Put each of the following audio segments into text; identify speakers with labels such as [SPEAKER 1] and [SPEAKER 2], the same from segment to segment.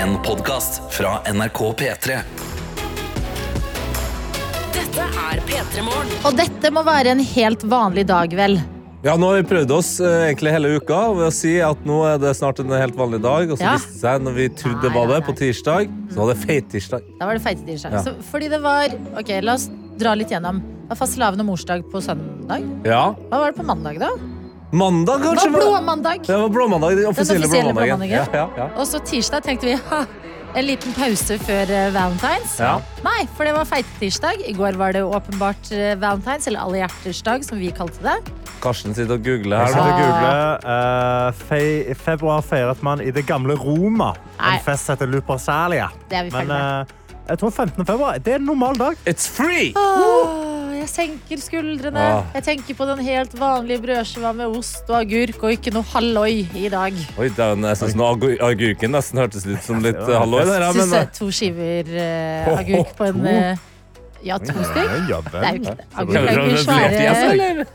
[SPEAKER 1] En podcast fra NRK P3
[SPEAKER 2] Dette er P3 Morgen.
[SPEAKER 3] Og dette må være en helt vanlig dag, vel?
[SPEAKER 4] Ja, nå har vi prøvd oss eh, egentlig hele uka ved å si at nå er det snart en helt vanlig dag. Og så
[SPEAKER 3] Ja.
[SPEAKER 4] viste det seg når vi trodde det
[SPEAKER 3] Nei,
[SPEAKER 4] var
[SPEAKER 3] nei,
[SPEAKER 4] det, på
[SPEAKER 3] nei.
[SPEAKER 4] tirsdag, så var det feit tirsdag.
[SPEAKER 3] Da var det feite tirsdag.
[SPEAKER 4] Ja.
[SPEAKER 3] Så, fordi det var Ok, la oss dra litt gjennom. Det var fastelavn og morsdag på søndag.
[SPEAKER 4] Ja.
[SPEAKER 3] Hva var det på mandag, da?
[SPEAKER 4] Mandag,
[SPEAKER 3] Det
[SPEAKER 4] kanskje?
[SPEAKER 3] var blåmandag!
[SPEAKER 4] Det var blåmandag, den offisielle,
[SPEAKER 3] offisielle
[SPEAKER 4] blåmandagen.
[SPEAKER 3] blåmandagen.
[SPEAKER 4] Ja, ja, ja.
[SPEAKER 3] Og så tirsdag tenkte vi ha, en liten pause før eh, valentines.
[SPEAKER 4] Ja.
[SPEAKER 3] Nei, for det var feite tirsdag. I går var det åpenbart eh, valentines, eller alle hjerters dag, som vi kalte det.
[SPEAKER 4] Karsten sitter og googler her.
[SPEAKER 5] Jeg sitter
[SPEAKER 4] nå.
[SPEAKER 5] og googler. eh, fe I februar feiret man i det gamle Roma
[SPEAKER 3] Nei.
[SPEAKER 5] en fest som heter Lupercalia.
[SPEAKER 3] Det er vi ferdig
[SPEAKER 5] Men eh, jeg tror 15. februar det er en normal dag.
[SPEAKER 4] It's free!
[SPEAKER 3] Åh, jeg senker skuldrene.
[SPEAKER 4] Ah.
[SPEAKER 3] Jeg tenker på den helt vanlige brødskiva med ost og agurk og ikke noe halloi i dag.
[SPEAKER 4] Oi, den, jeg synes nå agur- agurken nesten hørtes ut som litt
[SPEAKER 5] Ja,
[SPEAKER 4] eh, halloi. der, ja,
[SPEAKER 3] Synes
[SPEAKER 4] men, eh,
[SPEAKER 3] jeg to skiver eh,
[SPEAKER 4] Ho, ho,
[SPEAKER 3] agurk på en
[SPEAKER 4] to?
[SPEAKER 3] eh, Ja, to stykk.
[SPEAKER 5] Ja,
[SPEAKER 3] Det er jo ikke det. Agurk
[SPEAKER 4] Kommer
[SPEAKER 3] er jo
[SPEAKER 4] fra
[SPEAKER 3] ikke
[SPEAKER 4] et løvfjes,
[SPEAKER 3] svære.
[SPEAKER 4] eller?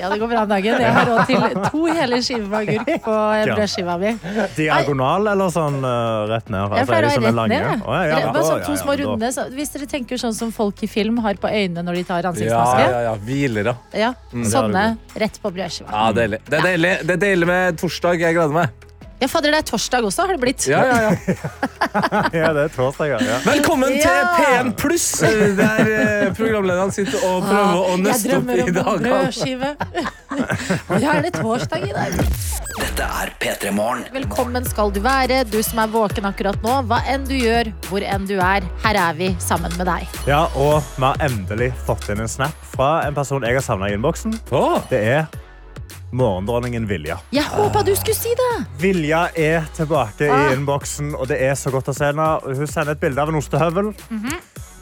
[SPEAKER 3] Ja, det går bra om dagen. Jeg har råd til to hele skiver med agurk på eh,
[SPEAKER 5] Ja.
[SPEAKER 3] brødskiva mi.
[SPEAKER 5] Diagonal eller sånn eh, rett ned?
[SPEAKER 3] Jeg
[SPEAKER 5] Altså,
[SPEAKER 3] pleier
[SPEAKER 5] er
[SPEAKER 3] å
[SPEAKER 5] de
[SPEAKER 3] ha
[SPEAKER 5] som er
[SPEAKER 3] rett
[SPEAKER 5] lange?
[SPEAKER 3] ned. jeg.
[SPEAKER 5] Å, ja, ja.
[SPEAKER 3] Eller Bare sånn
[SPEAKER 5] Å,
[SPEAKER 3] to
[SPEAKER 5] ja,
[SPEAKER 3] små
[SPEAKER 5] ja, da-
[SPEAKER 3] runde. Så hvis dere tenker sånn som folk i film har på øynene når de tar
[SPEAKER 4] Ja,
[SPEAKER 3] ansiktsmaske.
[SPEAKER 4] ja, ja. Hviler, da.
[SPEAKER 3] Ja, sånne
[SPEAKER 5] Mm, det
[SPEAKER 3] rett på brødskiva.
[SPEAKER 4] Ja, deilig. Det er deilig. Det er deilig med torsdag. Jeg gleder meg.
[SPEAKER 3] Ja, fadder, det er torsdag også, har det blitt.
[SPEAKER 4] Ja, ja, ja.
[SPEAKER 5] Ja, det er torsdag, ja. ja.
[SPEAKER 4] Velkommen til
[SPEAKER 3] Ja.
[SPEAKER 4] P1 Pluss, der eh, programlederen sitter og prøver å
[SPEAKER 3] Ah, Jeg
[SPEAKER 4] nøste opp
[SPEAKER 3] drømmer
[SPEAKER 4] i
[SPEAKER 3] om en
[SPEAKER 4] dagene.
[SPEAKER 3] brødskive. Og ja, er det torsdag i dag?
[SPEAKER 1] Dette er P3 Morgen
[SPEAKER 3] Velkommen skal du være, du som er våken akkurat nå. Hva enn du gjør, hvor enn du er, her er vi sammen med deg.
[SPEAKER 5] ja, og vi har endelig fått inn en snap fra en person jeg har savna i innboksen.
[SPEAKER 4] Åh,
[SPEAKER 5] Det er morgendronningen Vilja.
[SPEAKER 3] Jeg håpa du skulle si det!
[SPEAKER 5] Vilja er tilbake
[SPEAKER 3] Ah.
[SPEAKER 5] i innboksen, og det er så godt å se henne. Og Hun sender et bilde av en ostehøvel.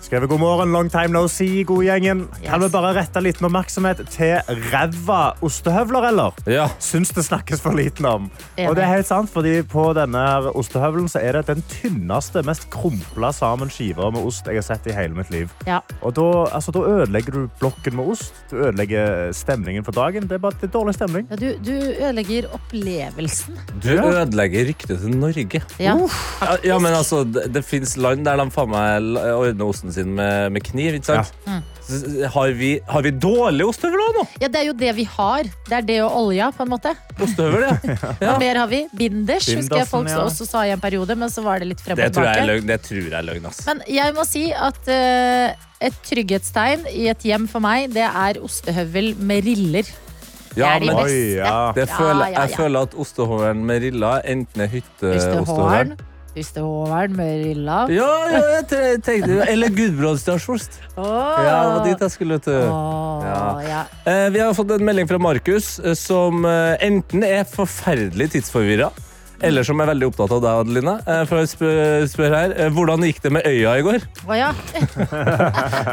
[SPEAKER 5] Skrevet god morgen, long time no see, god gjengen. Kan vi
[SPEAKER 3] Mhm. Yes.
[SPEAKER 5] bare rette en liten oppmerksomhet til ræva ostehøvler, eller?
[SPEAKER 4] ja.
[SPEAKER 5] Syns det snakkes for liten om.
[SPEAKER 3] Enig.
[SPEAKER 5] Og det er helt sant, fordi på denne her ostehøvelen så er det den tynneste, mest krumpla sammen skiva med ost jeg har sett i hele mitt liv.
[SPEAKER 3] Ja.
[SPEAKER 5] Og da, altså, da ødelegger du blokken med ost. Du ødelegger stemningen for dagen. Det er bare det er dårlig stemning.
[SPEAKER 3] Ja, du, du ødelegger opplevelsen.
[SPEAKER 4] Du ødelegger ryktet til Norge.
[SPEAKER 3] Ja.
[SPEAKER 4] Ja, ja, men altså, Det, det fins land der de faen meg l- ordner osten sin med, med kniv. ikke sant?
[SPEAKER 3] Mm.
[SPEAKER 4] S- Har, vi, har vi dårlig ostehøvel nå?
[SPEAKER 3] ja, det er jo det vi har. Det er det og olja, på en måte.
[SPEAKER 4] Ostehøvel,
[SPEAKER 3] Hva
[SPEAKER 4] ja. ja.
[SPEAKER 3] mer har vi? Binders, husker jeg
[SPEAKER 5] Bindersen,
[SPEAKER 3] folk
[SPEAKER 5] ja.
[SPEAKER 3] også sa i en periode, men så var det litt frem
[SPEAKER 4] Det
[SPEAKER 3] og
[SPEAKER 4] tror jeg er
[SPEAKER 3] tilbake.
[SPEAKER 4] løgn. Det tror jeg er løgn ass.
[SPEAKER 3] Men jeg må si at eh, et trygghetstegn i et hjem for meg, det er ostehøvel med riller. det
[SPEAKER 4] Ja,
[SPEAKER 3] er de
[SPEAKER 4] men
[SPEAKER 3] beste.
[SPEAKER 5] Oi, ja.
[SPEAKER 4] det føler,
[SPEAKER 3] Ja, ja,
[SPEAKER 4] jeg
[SPEAKER 3] ja.
[SPEAKER 4] føler at ostehøvelen med rilla enten er hytteostehøvelen
[SPEAKER 3] Ostehåren. Ostehåren med rilla.
[SPEAKER 4] Eh, ja, ja, jeg tre- tenkte det. Eller gudbrandsdalsost.
[SPEAKER 3] Åh.
[SPEAKER 4] Ja, det var dit jeg skulle. Til.
[SPEAKER 3] Åh,
[SPEAKER 4] Ja.
[SPEAKER 3] ja.
[SPEAKER 4] Eh, Vi har fått en melding fra Markus eh, som eh, enten er forferdelig tidsforvirra, eller som er veldig opptatt av deg, Adeline. Eh, For jeg spør, spør her, eh, Hvordan gikk det med øya i går?
[SPEAKER 3] Å, ja.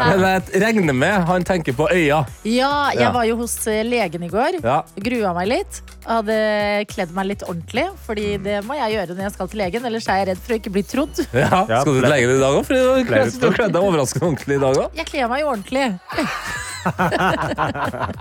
[SPEAKER 4] Men jeg regner med han tenker på øya.
[SPEAKER 3] ja, jeg
[SPEAKER 4] Ja.
[SPEAKER 3] var jo hos eh, legen i går.
[SPEAKER 4] Ja.
[SPEAKER 3] Grua meg litt. Hadde kledd meg litt ordentlig, Fordi
[SPEAKER 4] Mm.
[SPEAKER 3] det må jeg gjøre når jeg skal til legen. Ellers er jeg redd for å ikke bli trodd.
[SPEAKER 4] Ja.
[SPEAKER 5] Ja,
[SPEAKER 4] Skal du
[SPEAKER 5] ble-
[SPEAKER 4] legge det i dag òg? For du
[SPEAKER 5] ble
[SPEAKER 4] har- du har kledd deg overraskende ordentlig i dag òg.
[SPEAKER 3] Jeg kler meg jo ordentlig.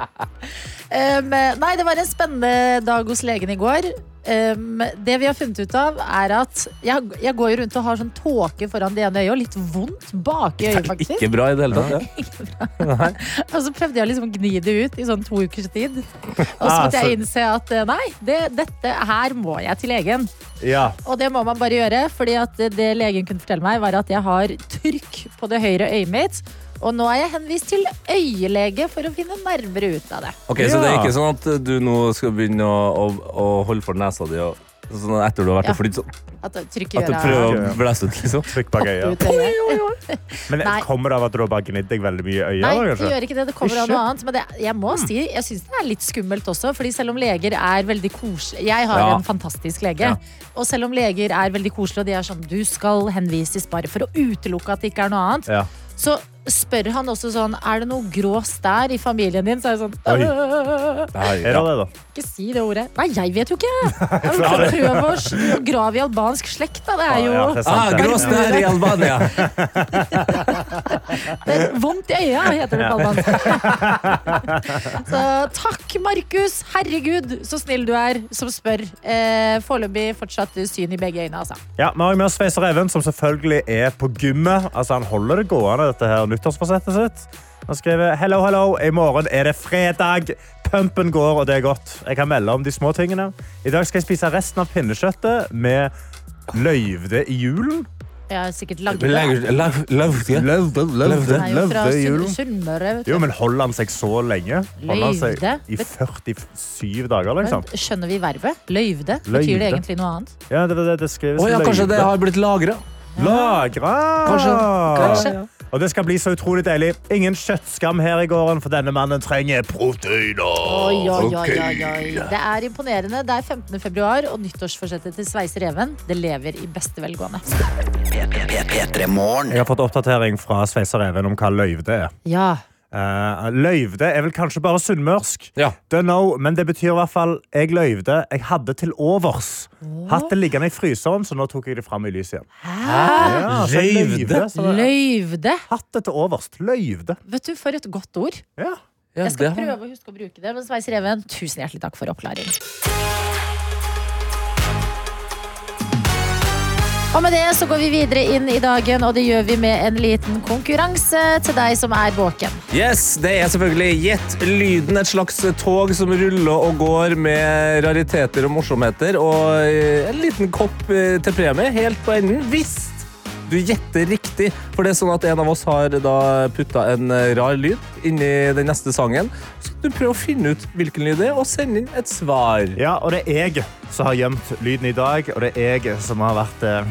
[SPEAKER 3] um, nei, det var en spennende dag hos legen i går. Um, det vi har funnet ut av, er at jeg, jeg går jo rundt og har sånn tåke foran det ene øyet, og litt vondt bak i øyet, faktisk.
[SPEAKER 4] Ikke bra i det hele tatt. Ja.
[SPEAKER 3] Og så prøvde jeg liksom å gni det ut i sånn to ukers tid. Og
[SPEAKER 4] Ah,
[SPEAKER 3] så måtte jeg innse at eh, nei, det, dette her må jeg til legen.
[SPEAKER 5] Ja.
[SPEAKER 3] Og det må man bare gjøre, fordi at det legen kunne fortelle meg, var at jeg har trykk på det høyre øyet mitt. Og nå er jeg henvist til øyelege for å finne nærmere ut av det.
[SPEAKER 4] Ok, Så det er
[SPEAKER 5] Ja.
[SPEAKER 4] ikke sånn at du nå skal begynne å, å, å holde for nesa di og, sånn etter du har vært
[SPEAKER 3] Ja.
[SPEAKER 4] og flydd sånn?
[SPEAKER 3] At det- trykket
[SPEAKER 4] At du
[SPEAKER 3] gjør
[SPEAKER 4] prøver å
[SPEAKER 5] Ja.
[SPEAKER 4] blæse ut, liksom?
[SPEAKER 5] Trykk bak øyet.
[SPEAKER 3] ut øyet.
[SPEAKER 5] Men
[SPEAKER 3] Nei.
[SPEAKER 5] kommer det av at du har bare gnidd deg veldig mye i øyet?
[SPEAKER 3] Nei,
[SPEAKER 5] da,
[SPEAKER 3] det
[SPEAKER 5] kanskje?
[SPEAKER 3] gjør ikke det. Det kommer av
[SPEAKER 5] Ikke?
[SPEAKER 3] noe annet. Men det, jeg må si, jeg syns det er litt skummelt også, fordi selv om leger er veldig koselige Jeg har
[SPEAKER 4] Ja.
[SPEAKER 3] en fantastisk lege.
[SPEAKER 4] Ja.
[SPEAKER 3] Og selv om leger er veldig koselige, og de er sånn Du skal henvises bare for å utelukke at det ikke er noe annet.
[SPEAKER 5] Ja.
[SPEAKER 3] Så spør han også sånn Er det noe grå stær i familien din? Så er jeg sånn
[SPEAKER 5] Oi.
[SPEAKER 3] «Øh,
[SPEAKER 5] Er det det, da?
[SPEAKER 3] Ikke si det ordet. Nei, jeg vet jo ikke! Jeg vil ikke prøve å sl- grave i
[SPEAKER 4] Ah,
[SPEAKER 3] albansk slekt, da. Det er
[SPEAKER 5] Ja,
[SPEAKER 3] jo
[SPEAKER 5] det er sant, det.
[SPEAKER 4] Gråstær i Albania!
[SPEAKER 3] Det er vondt i øya, heter det på albansk. Så takk, Markus. Herregud, så snill du er som spør. Eh, Foreløpig fortsatt syn i begge øyne, altså.
[SPEAKER 5] Ja, Vi har jo med oss Sveiser Even, som selvfølgelig er på gymmet. Altså, Han holder det gående, dette her nyttårsforsettet sitt. Han skriver hello, hello, i morgen er det fredag. Pumpen går, og det er godt. Jeg kan melde om de små tingene. I dag skal jeg spise resten av pinnekjøttet med løyvde i julen.
[SPEAKER 3] Jeg har sikkert lagd det.
[SPEAKER 4] Lag- lag- lag-
[SPEAKER 5] Løvde, løvde,
[SPEAKER 3] Det er jo fra Sunn- Sunnmøre. vet du.
[SPEAKER 5] Jo, men holder han seg så lenge? Holder han seg
[SPEAKER 3] Løyvde?
[SPEAKER 5] i 47 dager, liksom?
[SPEAKER 3] Men skjønner vi verbet? Løyvde? Betyr
[SPEAKER 5] Løyvde.
[SPEAKER 3] det egentlig noe annet?
[SPEAKER 5] Ja, det, det, det skrives
[SPEAKER 4] Å ja, kanskje det
[SPEAKER 5] løyvde.
[SPEAKER 4] har blitt lagra.
[SPEAKER 5] Lagra!
[SPEAKER 4] Kanskje.
[SPEAKER 3] Kanskje.
[SPEAKER 5] Og det skal bli så utrolig deilig. Ingen kjøttskam her i gården, for denne mannen trenger proteiner.
[SPEAKER 3] Oi, oi, oi, oi, oi. Det er imponerende. Det er 15. februar, og nyttårsforsettet til Sveiser Even det lever i beste velgående.
[SPEAKER 1] P3morgen.
[SPEAKER 5] Jeg har fått oppdatering fra Sveiser Even om hva løyvde er.
[SPEAKER 3] Ja.
[SPEAKER 5] Eh, løyvde er vel kanskje bare sunnmørsk,
[SPEAKER 4] Ja.
[SPEAKER 5] Don't know, men det betyr i hvert fall jeg løyvde. Jeg hadde til overs. Hatt det liggende i fryseren, så nå tok jeg det fram i lyset igjen. Ja, så
[SPEAKER 4] Løyvde?
[SPEAKER 5] så det-
[SPEAKER 3] Løyvde.
[SPEAKER 5] Hatt det til overs. Løyvde.
[SPEAKER 3] Vet du, for et godt ord.
[SPEAKER 5] Ja.
[SPEAKER 4] Ja,
[SPEAKER 3] Jeg skal
[SPEAKER 4] det har-
[SPEAKER 3] prøve å huske å bruke det. Men Sveiser Even, tusen hjertelig takk for oppklaring. Og med det så går vi videre inn i dagen, og det gjør vi med en liten konkurranse til deg som er våken.
[SPEAKER 4] Yes, Det er selvfølgelig Gjett lyden, et slags tog som ruller og går med rariteter og morsomheter. Og eh, en liten kopp eh, til premie helt på enden hvis du gjetter riktig. For det er sånn at en av oss har da putta en eh, rar lyd inni den neste sangen. Så du prøver å finne ut hvilken lyd det er, og sende inn et svar.
[SPEAKER 5] ja, og det er jeg som har gjemt lyden i dag, og det er jeg som har vært eh,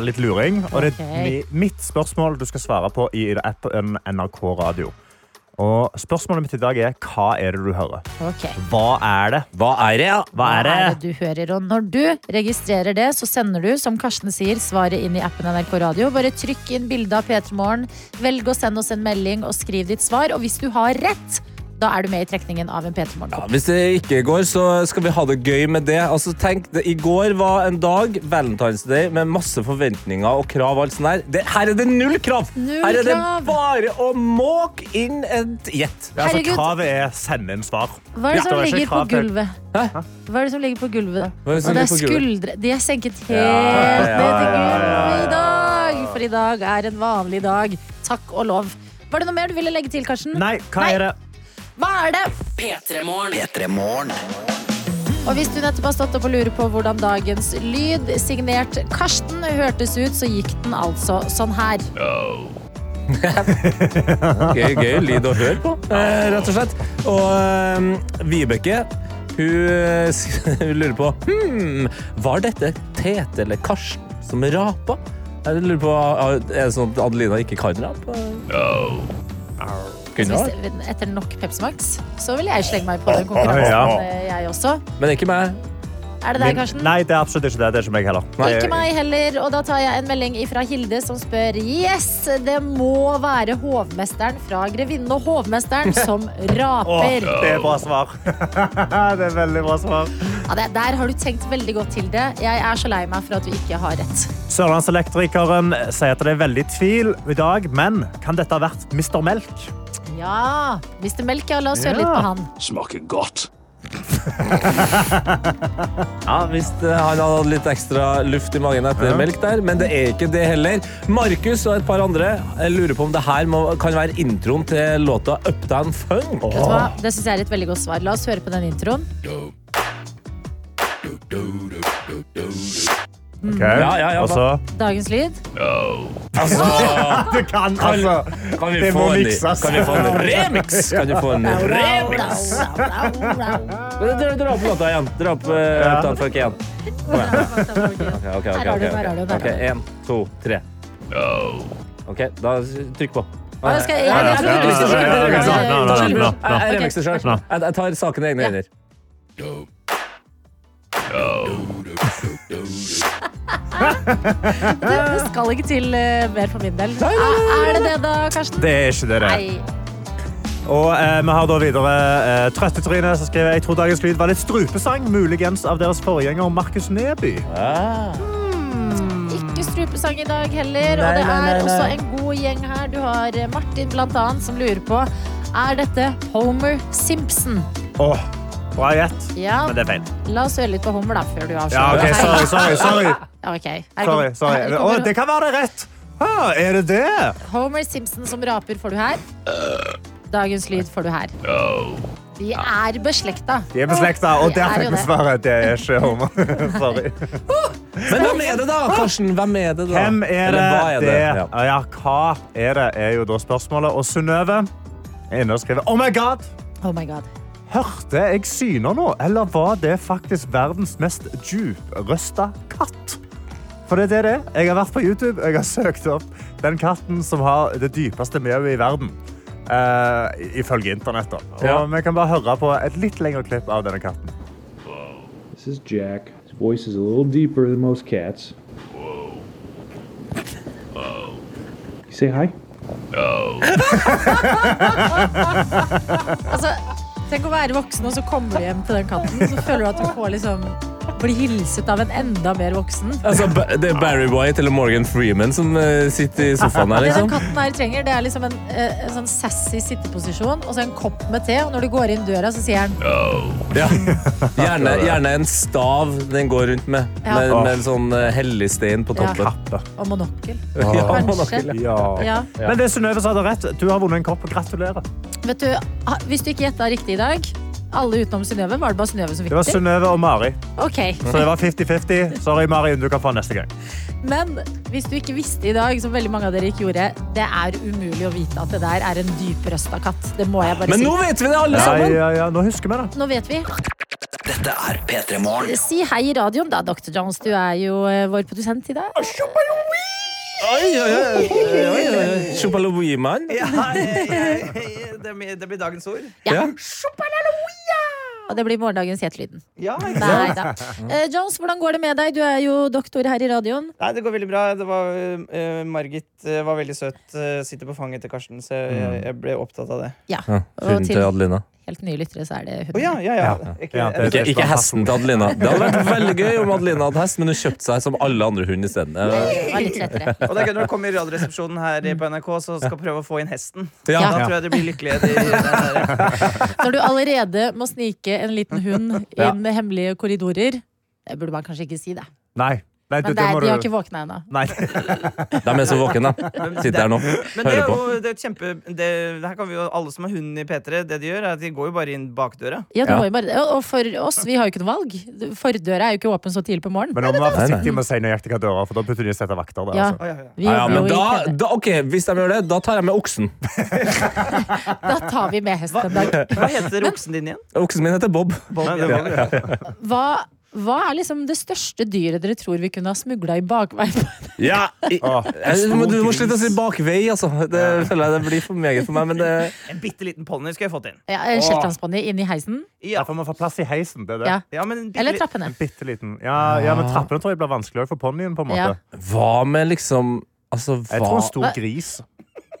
[SPEAKER 5] litt luring. Og det er
[SPEAKER 3] Ok.
[SPEAKER 5] mi- mitt spørsmål du skal svare på i appen NRK Radio. Og spørsmålet mitt i dag er hva er det du hører?
[SPEAKER 3] Ok.
[SPEAKER 5] Hva er det?
[SPEAKER 4] Hva er det, ja?
[SPEAKER 5] Hva er
[SPEAKER 3] Hva
[SPEAKER 5] det?
[SPEAKER 3] er det du hører? Og når du registrerer det, så sender du, som Karsten sier, svaret inn i appen NRK Radio. Bare trykk inn bilde av P3 Morgen. Velg å sende oss en melding og skriv ditt svar. Og hvis du har rett, da er du med i trekningen av en P3
[SPEAKER 4] Ja,
[SPEAKER 3] Morgen.
[SPEAKER 4] hvis det ikke går, så skal vi ha det gøy med det. Altså, tenk, det, I går var en dag, Valentine's Day, med masse forventninger og krav. og alt sånt der. Det, her er det null krav!
[SPEAKER 3] Null
[SPEAKER 4] her er
[SPEAKER 3] krav.
[SPEAKER 4] det bare å måke inn et gjett.
[SPEAKER 5] Ja, altså,
[SPEAKER 3] Herregud.
[SPEAKER 5] kravet er send inn svar.
[SPEAKER 3] Hva er det
[SPEAKER 5] Ja,
[SPEAKER 3] som
[SPEAKER 5] det er ikke
[SPEAKER 3] ligger på
[SPEAKER 5] krav til-
[SPEAKER 3] gulvet?
[SPEAKER 4] Hæ?
[SPEAKER 3] Hva er det som ligger på gulvet?
[SPEAKER 4] Hva er det som
[SPEAKER 3] Og det er
[SPEAKER 4] ligger på gulvet?
[SPEAKER 3] skuldre. De er senket helt
[SPEAKER 4] Ja,
[SPEAKER 3] ned
[SPEAKER 4] ja,
[SPEAKER 3] til
[SPEAKER 5] ja, ja,
[SPEAKER 3] gulvet
[SPEAKER 5] ja.
[SPEAKER 3] i dag. For i dag er en vanlig dag. Takk og lov. Var det noe mer du ville legge til, Karsten?
[SPEAKER 5] Nei, hva
[SPEAKER 3] Nei.
[SPEAKER 5] er det?
[SPEAKER 3] Hva er det?
[SPEAKER 2] P3morgen.
[SPEAKER 1] P3morgen.
[SPEAKER 3] Og hvis du nettopp har stått opp og lurer på hvordan dagens lyd, signert Karsten, hørtes ut, så gikk den altså sånn her.
[SPEAKER 4] Gøy, gøy lyd å høre på, eh, rett og slett. Og eh, Vibeke hun, eh, s- hun lurer på hmm, Var dette Tete eller Karsten som rapa? Jeg lurer på, Er det sånn at Adelina ikke kan rape? No. Kunne ha vært.
[SPEAKER 3] Hvis, etter nok Pepsi Max, så vil jeg slenge meg på den konkurransen,
[SPEAKER 5] sånn. Ja.
[SPEAKER 3] eh, jeg også.
[SPEAKER 4] Men ikke meg.
[SPEAKER 3] Er det deg, Karsten?
[SPEAKER 5] Nei, det er absolutt ikke det. Det er ikke meg heller.
[SPEAKER 3] Ikke meg heller, og da tar jeg en melding fra Hilde som spør Yes, det må være hovmesteren fra Grevinnen og hovmesteren som
[SPEAKER 5] Åh,
[SPEAKER 3] raper.
[SPEAKER 5] det er bra svar. det er veldig bra svar.
[SPEAKER 3] Ja, det, der har du tenkt veldig godt, Hilde. Jeg er så lei meg for at du ikke har rett.
[SPEAKER 5] Sørlandselektrikeren sier at det er veldig tvil i dag, men kan dette ha vært Mr. Melk?
[SPEAKER 3] Ja, Mr. Melk, ja, la oss
[SPEAKER 5] Ja.
[SPEAKER 3] høre litt på han.
[SPEAKER 1] Smaker godt.
[SPEAKER 4] Ja, hvis eh, han hadde hatt litt ekstra luft i magen etter
[SPEAKER 5] Ja.
[SPEAKER 4] melk der, men det er ikke det heller. Markus og et par andre jeg lurer på om det her må, kan være introen til låta Uptown Funk.
[SPEAKER 3] Vet du hva? Det synes jeg er et veldig godt svar. La oss høre på den introen.
[SPEAKER 4] Ja, ja, ja,
[SPEAKER 5] Og så
[SPEAKER 3] Dagens lyd.
[SPEAKER 5] Du kan, altså.
[SPEAKER 4] Kan vi
[SPEAKER 5] Det
[SPEAKER 4] få
[SPEAKER 5] må
[SPEAKER 4] en,
[SPEAKER 5] mikses.
[SPEAKER 4] kan vi få en remix? Kan vi få en remix? Dra dra opp låta igjen. Dra opp eh, Uptown Funk igjen. Ja, ok, ok,
[SPEAKER 3] Her har du
[SPEAKER 4] ok,
[SPEAKER 3] den, her har du
[SPEAKER 4] ok.
[SPEAKER 3] den, her
[SPEAKER 4] Ok,
[SPEAKER 3] har du
[SPEAKER 4] En, to, tre. OK, da trykk på.
[SPEAKER 3] Ja, jeg skal- jeg-
[SPEAKER 4] Nei, nei,
[SPEAKER 5] Ja,
[SPEAKER 4] nei,
[SPEAKER 5] ja,
[SPEAKER 4] nei, nei,
[SPEAKER 5] ja,
[SPEAKER 4] nei,
[SPEAKER 5] ja,
[SPEAKER 4] nei,
[SPEAKER 5] ja, ja, ja, ja,
[SPEAKER 4] Jeg, jeg
[SPEAKER 5] ja.
[SPEAKER 4] remixer selv.
[SPEAKER 5] Ja.
[SPEAKER 4] Jeg, jeg tar saken i egne hender.
[SPEAKER 3] Det, det skal ikke til eh, mer for min del. Er det det da, Karsten?
[SPEAKER 5] Det er ikke det det er.
[SPEAKER 3] Nei.
[SPEAKER 5] Og eh, vi har da videre eh, Trøttetryne som skriver Jeg tror dagens lyd var litt strupesang, muligens av deres forgjenger Markus Neby.
[SPEAKER 4] Ah.
[SPEAKER 3] Ikke ikke strupesang i dag heller. og det er også en god gjeng her. Du har eh, Martin blant annet som lurer på er dette Homer Simpson.
[SPEAKER 5] Åh, bra gjett.
[SPEAKER 3] Ja,
[SPEAKER 5] Men det er feil.
[SPEAKER 3] La oss høre litt på Homer da, før du avslører.
[SPEAKER 5] Ja, ok,
[SPEAKER 3] Her-
[SPEAKER 5] sorry, sorry, sorry.
[SPEAKER 3] Ja, ok. Her
[SPEAKER 5] sorry,
[SPEAKER 3] kom-
[SPEAKER 5] sorry.
[SPEAKER 3] her
[SPEAKER 5] Men,
[SPEAKER 3] kommer
[SPEAKER 5] Åh, det kan være det rett. Ah, er det det?
[SPEAKER 3] Homer Simpson som raper får du her. Dagens lyd får du her. De er beslekta.
[SPEAKER 5] De er beslekta, og
[SPEAKER 3] De
[SPEAKER 5] der
[SPEAKER 3] er
[SPEAKER 5] fikk
[SPEAKER 3] jo
[SPEAKER 5] vi
[SPEAKER 3] det.
[SPEAKER 5] svaret. Det er ikke Homer. Sorry.
[SPEAKER 4] Men hvem er det, da? Karsten, hvem er det, da?
[SPEAKER 5] Hvem er det?
[SPEAKER 4] Eller hva er det? Ja.
[SPEAKER 5] Ah, Ja, hva er det, er jo da spørsmålet. Og Synnøve er inne og skriver Oh my god!
[SPEAKER 3] Oh my god.
[SPEAKER 5] Hørte jeg syner nå, eller var det faktisk verdens mest djuprøsta katt? For det er det det er. Jeg har vært på YouTube og jeg har søkt opp den katten som har det dypeste mjauet i verden. Eh, ifølge internett. da. Og
[SPEAKER 4] Ja.
[SPEAKER 5] Vi kan bare høre på et litt lengre klipp av denne katten.
[SPEAKER 6] This is Jack. His voice is a little deeper than most cats. Whoa. Whoa. You say hi?
[SPEAKER 3] Altså, tenk å være voksen, og så kommer du hjem til den katten. Så føler du at du får liksom bli hilset av en enda mer voksen.
[SPEAKER 4] Altså, Ba- det er Barry White eller Morgan Freeman som eh, sitter i sofaen her,
[SPEAKER 3] Det den
[SPEAKER 4] liksom.
[SPEAKER 3] katten her trenger, det er liksom en, eh, en sånn sassy sitteposisjon og så en kopp med te. Og når du går inn døra, så sier han
[SPEAKER 4] Ja. Gjerne, gjerne en stav den går rundt med,
[SPEAKER 3] Ja.
[SPEAKER 4] med, med en sånn eh, helligstein på
[SPEAKER 3] Ja.
[SPEAKER 4] toppen.
[SPEAKER 3] og monokkel.
[SPEAKER 4] Ja,
[SPEAKER 3] Kanskje. Ja.
[SPEAKER 5] Men det Synnøve sa, hadde rett. Du har vunnet en kopp. Gratulerer.
[SPEAKER 3] Vet du, ha- hvis du ikke gjetta riktig i dag, alle utenom Synnøve, var det bare Synnøve som
[SPEAKER 5] Det var
[SPEAKER 3] fikk til?
[SPEAKER 5] Synnøve og Mari.
[SPEAKER 3] Ok.
[SPEAKER 5] Så det var 50-50. Sorry, Mari. Du kan få neste gang.
[SPEAKER 3] Men hvis du ikke visste i dag, som veldig mange av dere ikke gjorde, det er umulig å vite at det der er en dyprøsta katt. Det må jeg bare
[SPEAKER 4] Men
[SPEAKER 3] si.
[SPEAKER 4] nå vet vi det, alle
[SPEAKER 5] Ja,
[SPEAKER 4] sammen!
[SPEAKER 5] ja, ja. Nå husker vi det.
[SPEAKER 3] Nå vet vi.
[SPEAKER 1] Dette er P3 Morgen.
[SPEAKER 3] Si hei i radioen, da, Dr. Jones. Du er jo eh, vår produsent i dag.
[SPEAKER 4] Oi, oi, oi, oi, oi, oi. Chopalowiman.
[SPEAKER 7] det, blir, det blir dagens ord.
[SPEAKER 4] Ja.
[SPEAKER 3] Og det blir morgendagens Hetelyden.
[SPEAKER 7] Ja, ikke sant?
[SPEAKER 3] Nei da. Eh, Jones, hvordan går det med deg? Du er jo doktor her i radioen.
[SPEAKER 7] Nei, det går veldig bra. Det var, eh, Margit eh, var veldig søt. eh, sitter på fanget til Karsten, så
[SPEAKER 4] Mm.
[SPEAKER 7] jeg, jeg ble opptatt av det.
[SPEAKER 3] Ja.
[SPEAKER 4] Ja,
[SPEAKER 3] Og
[SPEAKER 4] Hunden til
[SPEAKER 3] til
[SPEAKER 4] Adelina.
[SPEAKER 3] helt nye lyttere så er det
[SPEAKER 7] Å
[SPEAKER 3] hun.
[SPEAKER 7] ja, ja, ja.
[SPEAKER 5] Ja.
[SPEAKER 7] Ikke,
[SPEAKER 5] Ja, det-
[SPEAKER 4] Ikke, ikke hesten til Adelina. Det hadde vært veldig gøy om Adelina hadde hest, men hun kjøpte seg som alle andre hund isteden. Eh,
[SPEAKER 3] Det var litt lettere.
[SPEAKER 7] og det er gøy når du kommer i Radioresepsjonen her på NRK så skal prøve å få inn hesten.
[SPEAKER 4] Ja.
[SPEAKER 7] Da tror jeg de blir lykkelige. De, de der.
[SPEAKER 3] Når du allerede må snike en liten hund inn med hemmelige korridorer, det burde man kanskje ikke si det.
[SPEAKER 5] Nei. Nei,
[SPEAKER 3] Men
[SPEAKER 5] det,
[SPEAKER 3] det
[SPEAKER 5] det
[SPEAKER 3] er,
[SPEAKER 5] må
[SPEAKER 3] de har
[SPEAKER 5] du...
[SPEAKER 3] ikke våkna ennå.
[SPEAKER 5] Nei.
[SPEAKER 4] De er så våkne, de. Sitter her nå.
[SPEAKER 7] Men det
[SPEAKER 4] Hører
[SPEAKER 7] er
[SPEAKER 4] på.
[SPEAKER 7] jo det er et kjempe det, Her kan vi jo, Alle som har hund i P3, det de gjør, er at de går jo bare inn bakdøra.
[SPEAKER 3] Ja, det
[SPEAKER 4] Ja.
[SPEAKER 3] må jo bare, og for oss, vi har jo ikke noe valg. Fordøra er jo ikke åpen så tidlig på morgenen.
[SPEAKER 5] Men nå må vi være
[SPEAKER 4] Nei, nei.
[SPEAKER 5] forsiktig med å si nøyaktig hva døra, for da putter de å sette vakter der.
[SPEAKER 3] Ja,
[SPEAKER 5] Altså.
[SPEAKER 7] Å, ja, ja.
[SPEAKER 3] vi
[SPEAKER 4] Ja, ja,
[SPEAKER 3] jobber
[SPEAKER 4] men
[SPEAKER 3] jo i
[SPEAKER 4] da,
[SPEAKER 3] TV.
[SPEAKER 4] da, ok, Hvis de gjør det, da tar jeg med oksen.
[SPEAKER 3] Da tar vi med hest en dag.
[SPEAKER 7] Hva heter oksen din igjen?
[SPEAKER 4] Oksen min heter Bob.
[SPEAKER 7] Bob, ja.
[SPEAKER 3] Hva, hva er liksom det største dyret dere tror vi kunne ha smugla i bakveien?
[SPEAKER 4] Ja, i,
[SPEAKER 5] Åh,
[SPEAKER 4] jeg, du, må, du må slutte å si bakvei, altså. Det føler jeg det blir for meget for meg. Men det,
[SPEAKER 7] En bitte liten ponni skulle jeg fått inn.
[SPEAKER 3] Ja, en shetlandsponny inn i heisen?
[SPEAKER 7] Ja,
[SPEAKER 5] Derfor må vi få plass i heisen. Det er det.
[SPEAKER 3] Ja.
[SPEAKER 7] ja, men en bitte
[SPEAKER 3] Eller
[SPEAKER 7] li-
[SPEAKER 3] trappene?
[SPEAKER 5] Bitte liten. Ja, ja, men trappene tror jeg blir vanskelig også for ponnien. på en måte.
[SPEAKER 3] Ja.
[SPEAKER 4] hva med liksom Altså,
[SPEAKER 5] Jeg
[SPEAKER 4] hva
[SPEAKER 5] tror Altså, en stor gris.
[SPEAKER 4] ja.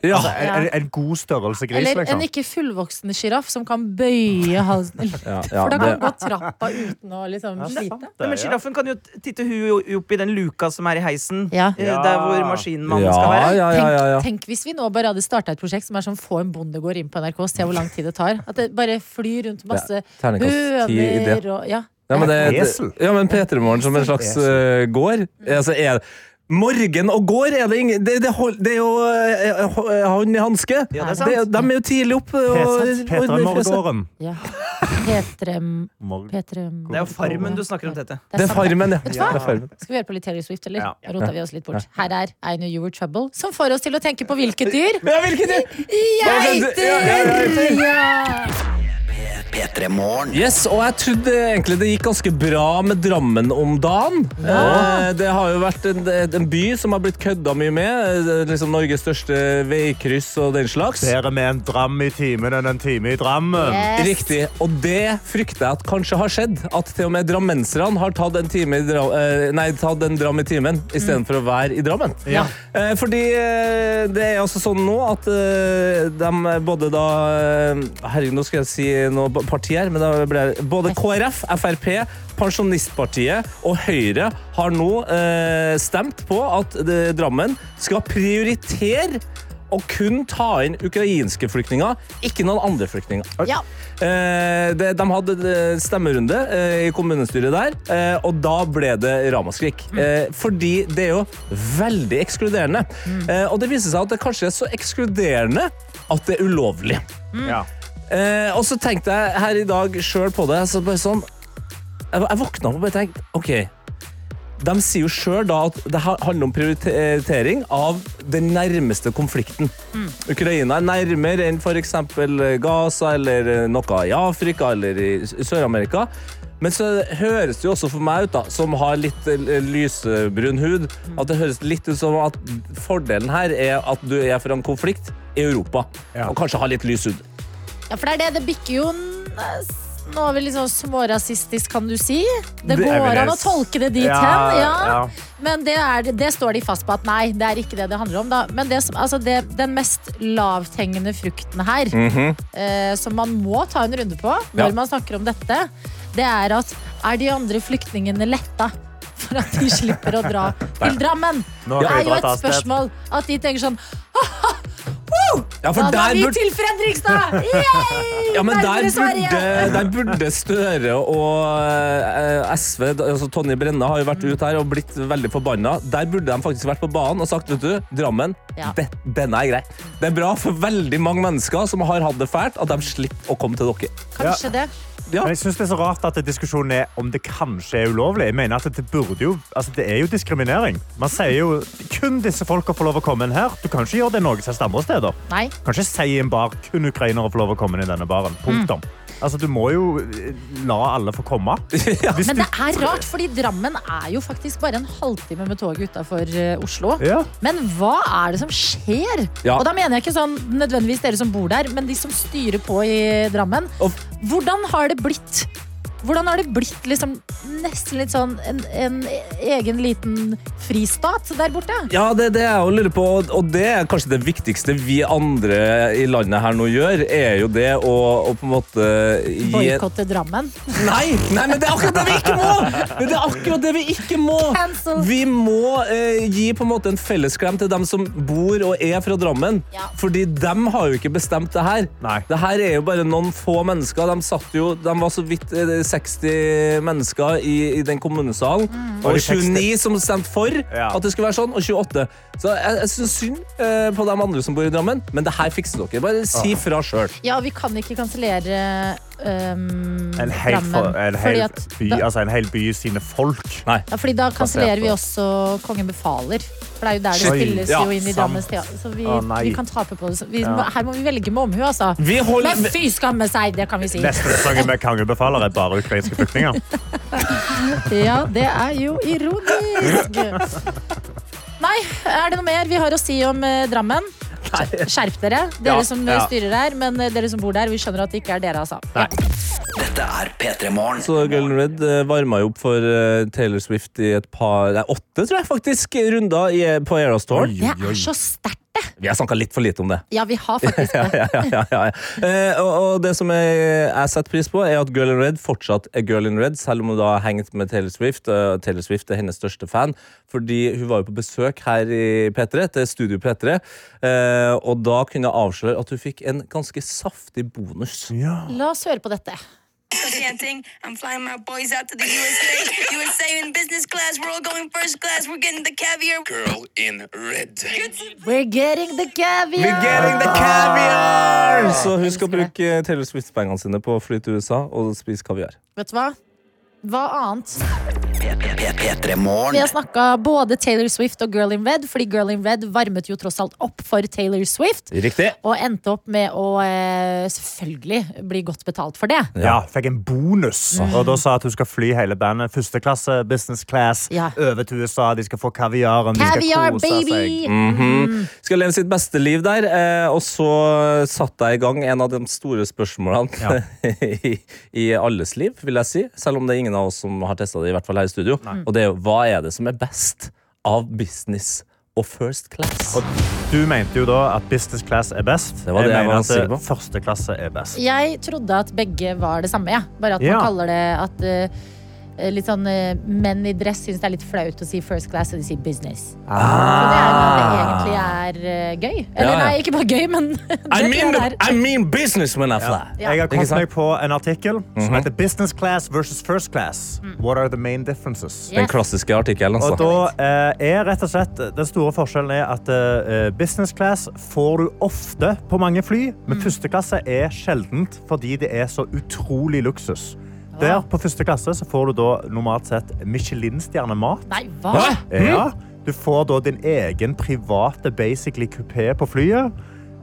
[SPEAKER 5] En, en, en god størrelse gris,
[SPEAKER 3] Eller en
[SPEAKER 5] liksom.
[SPEAKER 3] ikke fullvoksen sjiraff som kan bøye halsen litt.
[SPEAKER 4] Ja, ja,
[SPEAKER 3] For da kan
[SPEAKER 4] det-
[SPEAKER 3] den gå trappa uten å liksom
[SPEAKER 5] Ja, det er sant,
[SPEAKER 3] slite.
[SPEAKER 5] det,
[SPEAKER 7] Nei, men
[SPEAKER 5] ja.
[SPEAKER 7] Sjiraffen kan jo t- titte huet opp i den luka som er i heisen.
[SPEAKER 3] Ja.
[SPEAKER 7] eh, Der hvor maskinmannen
[SPEAKER 4] ja,
[SPEAKER 7] skal være.
[SPEAKER 4] ja, ja, ja, ja.
[SPEAKER 3] Tenk, tenk hvis vi nå bare hadde starta et prosjekt som er sånn få en bondegård inn på NRK, se hvor lang tid det tar. At det bare flyr rundt masse
[SPEAKER 4] Terningkast ti i det.
[SPEAKER 3] høner og ja.
[SPEAKER 4] Ja, men, det,
[SPEAKER 5] Esel.
[SPEAKER 4] ja, men P3morgen som en slags eh, gård. Altså, er, morgen og gård er det ingen Det, det, hold, det er jo eh, ho- eh, hånd i hanske.
[SPEAKER 7] Ja, det er sant.
[SPEAKER 4] de er jo tidlig oppe. og-
[SPEAKER 5] Petra- Petra
[SPEAKER 4] og-
[SPEAKER 5] Morgården.
[SPEAKER 3] ja. Petrem,
[SPEAKER 5] Morg-
[SPEAKER 3] Petrem.
[SPEAKER 7] Det er jo Farmen du snakker om, Tete.
[SPEAKER 4] Det er Farmen, ja.
[SPEAKER 3] Vet du
[SPEAKER 4] ja.
[SPEAKER 3] hva?
[SPEAKER 4] det er farmen.
[SPEAKER 3] Skal vi høre på litt Taylor Swift, eller?
[SPEAKER 5] Ja.
[SPEAKER 3] Rota vi oss litt bort. Her er I Knew You Were Trouble, som får oss til å tenke på hvilket dyr.
[SPEAKER 4] Ja, hvilket dyr?
[SPEAKER 3] Geiter! Ja.
[SPEAKER 1] P3 Morgen.
[SPEAKER 4] Yes, og jeg trodde egentlig det gikk ganske bra med Drammen om dagen. Eh, det har jo vært en, en by som har blitt kødda mye med. eh, Liksom Norges største veikryss og den slags.
[SPEAKER 5] Bedre med en dram i timen enn en time i Drammen.
[SPEAKER 3] Yes.
[SPEAKER 4] Riktig. Og det frykter jeg at kanskje har skjedd. At til og med drammenserne har tatt en, time i dra eh, nei, tatt en dram i timen istedenfor for å være i Drammen.
[SPEAKER 5] Ja.
[SPEAKER 4] Eh, Fordi eh, det er altså sånn nå at eh, de både da eh, Herregud, nå eh, skal jeg si noe partier, men da ble det både KrF, Frp, Pensjonistpartiet og Høyre har nå eh, stemt på at eh, Drammen skal prioritere å kun ta inn ukrainske flyktninger, ikke noen andre flyktninger.
[SPEAKER 3] Ja.
[SPEAKER 4] Eh, det, de hadde eh, stemmerunde eh, i kommunestyret der, eh, og da ble det ramaskrik. Eh, fordi det er jo veldig ekskluderende. Eh, og det viser seg at det kanskje er så ekskluderende at det er ulovlig.
[SPEAKER 5] Ja.
[SPEAKER 4] Eh, og så tenkte jeg her i dag sjøl på det. Så bare sånn, jeg, jeg våkna opp og bare tenkte OK. De sier jo sjøl da at det ha- handler om prioritering av den nærmeste konflikten. Ukraina er nærmere enn f.eks. Gaza eller eh, noe i Afrika eller i S- Sør-Amerika. Men så høres det jo også for meg ut, da, som har litt eh, lysebrun hud, at det høres litt ut som at fordelen her er at du er fra en konflikt i Europa.
[SPEAKER 5] Ja.
[SPEAKER 4] Og kanskje har litt lys hud.
[SPEAKER 3] ja, for det er det. Det bikker jo eh, nesten over litt sånn smårasistisk, kan du si. Det
[SPEAKER 5] Det- Jeg vil
[SPEAKER 3] går an å
[SPEAKER 5] helst-
[SPEAKER 3] tolke det dit
[SPEAKER 5] Ja,
[SPEAKER 3] hen. Ja.
[SPEAKER 5] ja.
[SPEAKER 3] Men det, er, det står de fast på at nei, det er ikke det det handler om. Da. Men det som, altså det, den mest lavthengende frukten her, eh, som man må ta en runde på når
[SPEAKER 4] Ja.
[SPEAKER 3] man snakker om dette, det er at er de andre flyktningene letta? For at de slipper å dra til Drammen.
[SPEAKER 5] Nå
[SPEAKER 3] Det
[SPEAKER 5] kan
[SPEAKER 3] er jo
[SPEAKER 5] vi
[SPEAKER 3] et
[SPEAKER 5] dra et annet sted.
[SPEAKER 3] spørsmål at de tenker sånn
[SPEAKER 4] Ja, for
[SPEAKER 3] Da drar
[SPEAKER 4] der
[SPEAKER 3] vi
[SPEAKER 4] burde,
[SPEAKER 3] til Fredrikstad! Yay!
[SPEAKER 4] ja, men der
[SPEAKER 3] Nærmere Sverige!
[SPEAKER 4] burde, der burde Støre og eh, SV, altså Tonje Brenna, har jo vært ute her og blitt veldig forbanna. Der burde de faktisk vært på banen og sagt vet du, Drammen,
[SPEAKER 3] Ja.
[SPEAKER 4] det, denne er grei. Det er bra for veldig mange mennesker som har hatt det fælt, at de slipper å komme til dere.
[SPEAKER 3] Kanskje det.
[SPEAKER 4] Ja.
[SPEAKER 5] Men jeg synes det er så rart at diskusjonen er om det kanskje er ulovlig. Jeg mener at Det burde jo, altså det er jo diskriminering. Man sier jo kun disse folka får lov å komme inn her. Du kan ikke gjøre det noen som helst andre steder.
[SPEAKER 3] Nei.
[SPEAKER 5] Kan ikke si i en bar kun ukrainere får lov å komme inn i denne baren. Punktum.
[SPEAKER 3] Mm.
[SPEAKER 5] Altså, du må jo eh, la alle få komme. Hvis
[SPEAKER 3] Men
[SPEAKER 5] du-
[SPEAKER 3] det er rart, fordi Drammen er jo faktisk bare en halvtime med toget utafor eh, Oslo.
[SPEAKER 5] Ja.
[SPEAKER 3] Men hva er det som skjer?
[SPEAKER 4] Ja.
[SPEAKER 3] Og da mener jeg ikke sånn nødvendigvis dere som bor der, men de som styrer på i Drammen.
[SPEAKER 4] Og-
[SPEAKER 3] Hvordan har det blitt? Hvordan har det blitt liksom nesten litt sånn en, en egen liten fristat der borte?
[SPEAKER 4] Ja, det er det jeg også lurer på, og- og det er kanskje det viktigste vi andre i landet her nå gjør, er jo det å, å på en måte gi
[SPEAKER 3] Boikotte Drammen.
[SPEAKER 4] Nei, nei, men det er akkurat det vi ikke må! Men det er akkurat det vi ikke må.
[SPEAKER 3] Cancel.
[SPEAKER 4] Vi må eh, gi på en måte en fellesklem til dem som bor og er fra Drammen.
[SPEAKER 3] Ja.
[SPEAKER 4] Fordi dem har jo ikke bestemt det her.
[SPEAKER 5] Nei.
[SPEAKER 4] Det her er jo bare noen få mennesker. De, satt jo, de var så vidt eh, 60 mennesker i, i den kommunesalen.
[SPEAKER 3] Mm.
[SPEAKER 5] Og
[SPEAKER 4] Og
[SPEAKER 5] de 60.
[SPEAKER 4] 29 som stemte for
[SPEAKER 5] Ja.
[SPEAKER 4] at det skulle være sånn, og 28. Så jeg, jeg syns synd eh, på de andre som bor i Drammen, men det her fikser dere. Bare si fra sjøl.
[SPEAKER 3] Ja, vi kan ikke kansellere eh, um,
[SPEAKER 5] En hel,
[SPEAKER 3] Drammen.
[SPEAKER 5] for, en,
[SPEAKER 3] fordi
[SPEAKER 5] hel
[SPEAKER 3] at
[SPEAKER 5] by,
[SPEAKER 3] da,
[SPEAKER 5] altså en hel by sine folk.
[SPEAKER 4] Nei.
[SPEAKER 3] ja, fordi da kansellerer
[SPEAKER 5] på-
[SPEAKER 3] vi også Kongen befaler. For det er jo der det
[SPEAKER 5] Shit.
[SPEAKER 3] spilles
[SPEAKER 4] Ja,
[SPEAKER 3] jo inn i
[SPEAKER 5] sant.
[SPEAKER 3] Drammens teater. Så vi,
[SPEAKER 5] Å, nei.
[SPEAKER 3] vi kan tape på det. Så Vi, må- Her må vi velge med omhu, altså.
[SPEAKER 4] Vi holder-
[SPEAKER 3] Men fy skamme seg, det kan vi si.
[SPEAKER 5] Neste sesong med Kongebefaler er bare ukrainske flyktninger.
[SPEAKER 3] Ja, det er jo ironisk. Nei, er det noe mer vi har å si om eh, Drammen? Skjerp dere, dere
[SPEAKER 5] Ja,
[SPEAKER 3] som eh,
[SPEAKER 5] ja.
[SPEAKER 3] styrer her. Men eh, dere som bor der, vi skjønner at det ikke er dere, altså. Ja.
[SPEAKER 1] Dette er P3 Morgen.
[SPEAKER 4] Så Girl in Red eh, varma jo opp for eh, Taylor Swift i et par Nei, åtte, tror jeg faktisk, runder i, eh, på Era Store.
[SPEAKER 3] Det er så sterkt, det.
[SPEAKER 4] Vi har snakka litt for lite om det.
[SPEAKER 3] Ja, vi har faktisk
[SPEAKER 4] Ja,
[SPEAKER 3] det.
[SPEAKER 4] ja, ja, ja, ja. Eh, og, og det som jeg, jeg setter pris på, er at Girl in Red fortsatt er Girl in Red, selv om hun da har hengt med Taylor Swift. eh, Taylor Swift er hennes største fan, fordi hun var jo på besøk her i P3, til Studio P3, eh, og da kunne jeg avsløre at hun fikk en ganske saftig bonus.
[SPEAKER 3] La oss høre på dette.
[SPEAKER 8] chanting, I'm flying my boys out to the USA. USA in business class, we're all going first class, we're getting the caviar.
[SPEAKER 9] Girl in red.
[SPEAKER 3] We're getting the caviar!
[SPEAKER 4] Så hun skal bruke Taylor Swift-pengene sine på å fly til USA og spise kaviar.
[SPEAKER 3] Vet du hva? Hva annet?
[SPEAKER 1] P3
[SPEAKER 3] Vi
[SPEAKER 1] Morgen.
[SPEAKER 3] har snakka både Taylor Swift og Girl in Red, fordi Girl in Red varmet jo tross alt opp for Taylor Swift.
[SPEAKER 4] Riktig.
[SPEAKER 3] Og endte opp med å eh, selvfølgelig bli godt betalt for det.
[SPEAKER 5] Ja, fikk en bonus. Og da sa at hun skal fly hele bandet. Første klasse, business class,
[SPEAKER 3] Ja.
[SPEAKER 5] over til USA. De skal få kaviaren. De
[SPEAKER 3] Caviar,
[SPEAKER 5] skal kose
[SPEAKER 3] baby!
[SPEAKER 5] seg.
[SPEAKER 4] Mm.
[SPEAKER 3] Mm.
[SPEAKER 4] Skal leve sitt beste liv der. Eh, og så satte jeg i gang en av de store spørsmålene i, i alles liv, vil jeg si. Selv om det er ingen av oss som har testa det, i hvert fall her i studio. Og det er jo hva er det som er best av business og first class.
[SPEAKER 5] Du mente jo da at business class er best.
[SPEAKER 4] Det var det jeg var
[SPEAKER 5] mener at
[SPEAKER 4] sikker på.
[SPEAKER 5] eh, første klasse er best.
[SPEAKER 3] Jeg trodde at begge var det samme, jeg. Bare at
[SPEAKER 5] Ja.
[SPEAKER 3] man kaller det at eh, litt sånn eh, menn i dress syns det er litt flaut å si first class, og de sier business. Så det er jo at det egentlig er eh, gøy. Eller
[SPEAKER 4] Ah. Ja, ja.
[SPEAKER 3] nei, ikke bare gøy, men det
[SPEAKER 4] I
[SPEAKER 3] tror
[SPEAKER 4] mean,
[SPEAKER 3] jeg det er.
[SPEAKER 4] the, I mean business when I fly.
[SPEAKER 5] Jeg har
[SPEAKER 4] Ikke
[SPEAKER 5] kommet
[SPEAKER 4] sant? Mhm.
[SPEAKER 5] meg på en artikkel som heter Business class versus first class.
[SPEAKER 3] Mm.
[SPEAKER 5] What are the main differences?
[SPEAKER 4] Den
[SPEAKER 3] Yes.
[SPEAKER 4] klassiske artikkelen,
[SPEAKER 5] Og
[SPEAKER 4] altså.
[SPEAKER 5] da eh, er rett og slett Den store forskjellen er at eh, business class får du ofte på mange fly, men første klasse er sjeldent fordi det er så utrolig luksus. Der på første klasse så får du da normalt sett Michelin-stjernemat.
[SPEAKER 3] Nei, hva?
[SPEAKER 4] Hæ?
[SPEAKER 5] Ja, du får da din egen private basically kupé på flyet.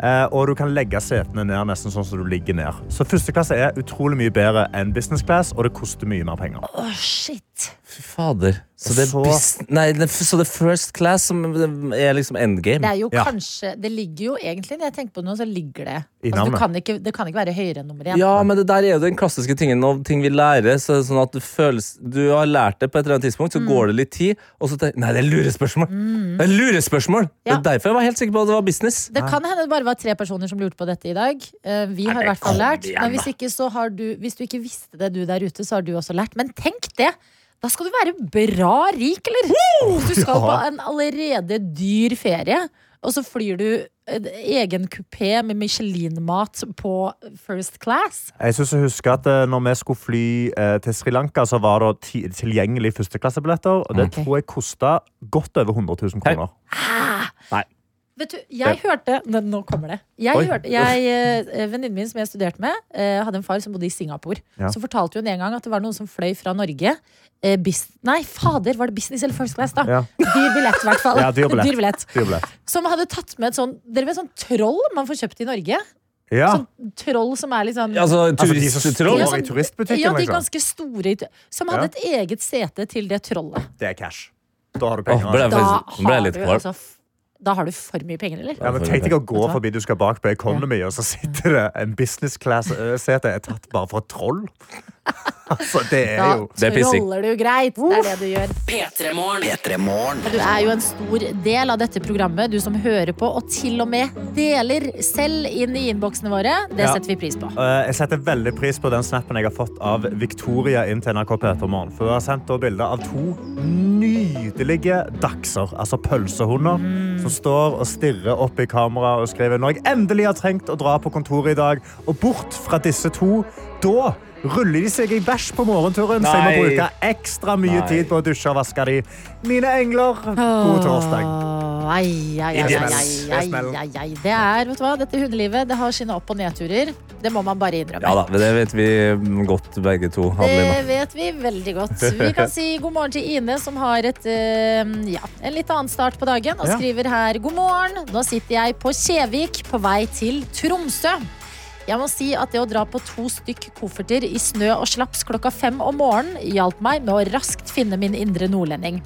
[SPEAKER 5] eh, Og du kan legge setene ned nesten sånn som du ligger ned. Så første klasse er utrolig mye bedre enn business class, og det koster mye mer penger.
[SPEAKER 3] Å, shit.
[SPEAKER 4] Fy fader. Så det er
[SPEAKER 5] Så-
[SPEAKER 4] bus- Nei, det, så det er first class som er liksom endgame.
[SPEAKER 3] Det er jo
[SPEAKER 5] Ja.
[SPEAKER 3] kanskje Det ligger jo egentlig, når jeg tenker på det nå, så ligger det
[SPEAKER 5] I
[SPEAKER 3] altså,
[SPEAKER 5] navnet.
[SPEAKER 3] du kan ikke, Det kan ikke være høyere enn nummer én.
[SPEAKER 4] Ja, men det der er jo den klassiske tingen og ting vi lærer. Så det er sånn at du, føles, du har lært det på et eller annet tidspunkt, så
[SPEAKER 3] Mm.
[SPEAKER 4] går det litt tid, og så tenker Nei, det er lurespørsmål! Det er lurespørsmål! Det
[SPEAKER 3] Ja.
[SPEAKER 4] er derfor jeg var helt sikker på at det var business.
[SPEAKER 3] Det kan hende det bare var tre personer som lurte på dette i dag. Eh, Vi har i hvert fall lært. Men hvis, ikke, så har du, hvis du ikke visste det, du der ute, så har du også lært. Men tenk det! Da skal du være bra rik, eller? Du skal på en allerede dyr ferie, og så flyr du en egen kupé med Michelin-mat på first class.
[SPEAKER 5] Jeg synes jeg husker at eh, når vi skulle fly eh, til Sri Lanka, så var det ti tilgjengelig førsteklassebilletter. Og det
[SPEAKER 3] Ok.
[SPEAKER 5] tror jeg kosta godt over 100 000 kroner.
[SPEAKER 3] Vet du, jeg hørte Nå, nå kommer det. Jeg
[SPEAKER 5] Oi.
[SPEAKER 3] hørte, jeg, eh, Venninnen min som jeg studerte med, eh, hadde en far som bodde i Singapore.
[SPEAKER 5] Ja.
[SPEAKER 3] Så fortalte hun en gang at det var noen som fløy fra Norge. Eh, bis, nei, fader, var det business eller first class, da?
[SPEAKER 5] Ja.
[SPEAKER 3] Dyr billett, i hvert fall.
[SPEAKER 5] Ja, dyr billett.
[SPEAKER 3] Dyr billett.
[SPEAKER 5] Dyr billett.
[SPEAKER 3] Som hadde tatt med et sånn Dere vet sånn troll man får kjøpt i Norge?
[SPEAKER 5] Ja.
[SPEAKER 3] Sånn troll som er litt sånn
[SPEAKER 4] Altså,
[SPEAKER 5] Altså, de som
[SPEAKER 4] turisttroll.
[SPEAKER 5] står
[SPEAKER 3] Ja, sånn-
[SPEAKER 5] i turistbutikken,
[SPEAKER 3] Ja, de
[SPEAKER 5] liksom.
[SPEAKER 3] ganske store i- Som hadde et eget sete til det trollet.
[SPEAKER 5] Det er cash. Da har du
[SPEAKER 4] Åh, ble
[SPEAKER 5] penger. altså.
[SPEAKER 4] jeg
[SPEAKER 3] Da
[SPEAKER 4] faktisk- ble jeg
[SPEAKER 3] har,
[SPEAKER 4] litt
[SPEAKER 3] du,
[SPEAKER 4] kvalm.
[SPEAKER 3] altså, f- da har du for mye penger, eller?
[SPEAKER 5] Ja, men Tenk deg å gå forbi du skal bak på Economy, og så sitter det en business class-sete er tatt bare for et troll. Altså, det er jo
[SPEAKER 4] Det er pissing.
[SPEAKER 3] troller du greit. Det er det du gjør.
[SPEAKER 2] P3morgen.
[SPEAKER 1] P3 Morgen.
[SPEAKER 3] Du er jo en stor del av dette programmet, du som hører på, og til og med deler selv inn i innboksene våre. Det
[SPEAKER 5] Ja.
[SPEAKER 3] setter vi pris på.
[SPEAKER 5] Eh, Jeg setter veldig pris på den snappen jeg har fått av Victoria inn til NRK Petermorgen. For hun har sendt da bilder av to nydelige dachser, altså pølsehunder,
[SPEAKER 4] Mm.
[SPEAKER 5] som står og stirrer opp i kamera og skriver når jeg endelig har trengt å dra på kontoret i dag, og bort fra disse to, da ruller de seg i bæsj på morgenturen, så jeg må
[SPEAKER 4] Nei.
[SPEAKER 5] bruke ekstra mye
[SPEAKER 4] Nei.
[SPEAKER 5] tid på å dusje og vaske de. Mine engler, god torsdag.
[SPEAKER 3] Åh, Ai, ai, ai, ai, ai, ai, ai, ai. Det er, vet du hva, dette hundelivet det har sine opp- og nedturer. Det må man bare
[SPEAKER 4] Ja
[SPEAKER 3] innrømme.
[SPEAKER 4] da, men det vet vi godt begge to. Adeline.
[SPEAKER 3] Det vet vi veldig godt. Vi kan si god morgen til Ine, som har et, eh, ja, en litt annen start på dagen. Og
[SPEAKER 5] Ja.
[SPEAKER 3] skriver her god morgen. Nå sitter jeg på Kjevik på vei til Tromsø. Jeg må si at det å dra på to stykk kofferter i snø og slaps klokka fem om morgenen hjalp meg med å raskt finne min indre nordlending.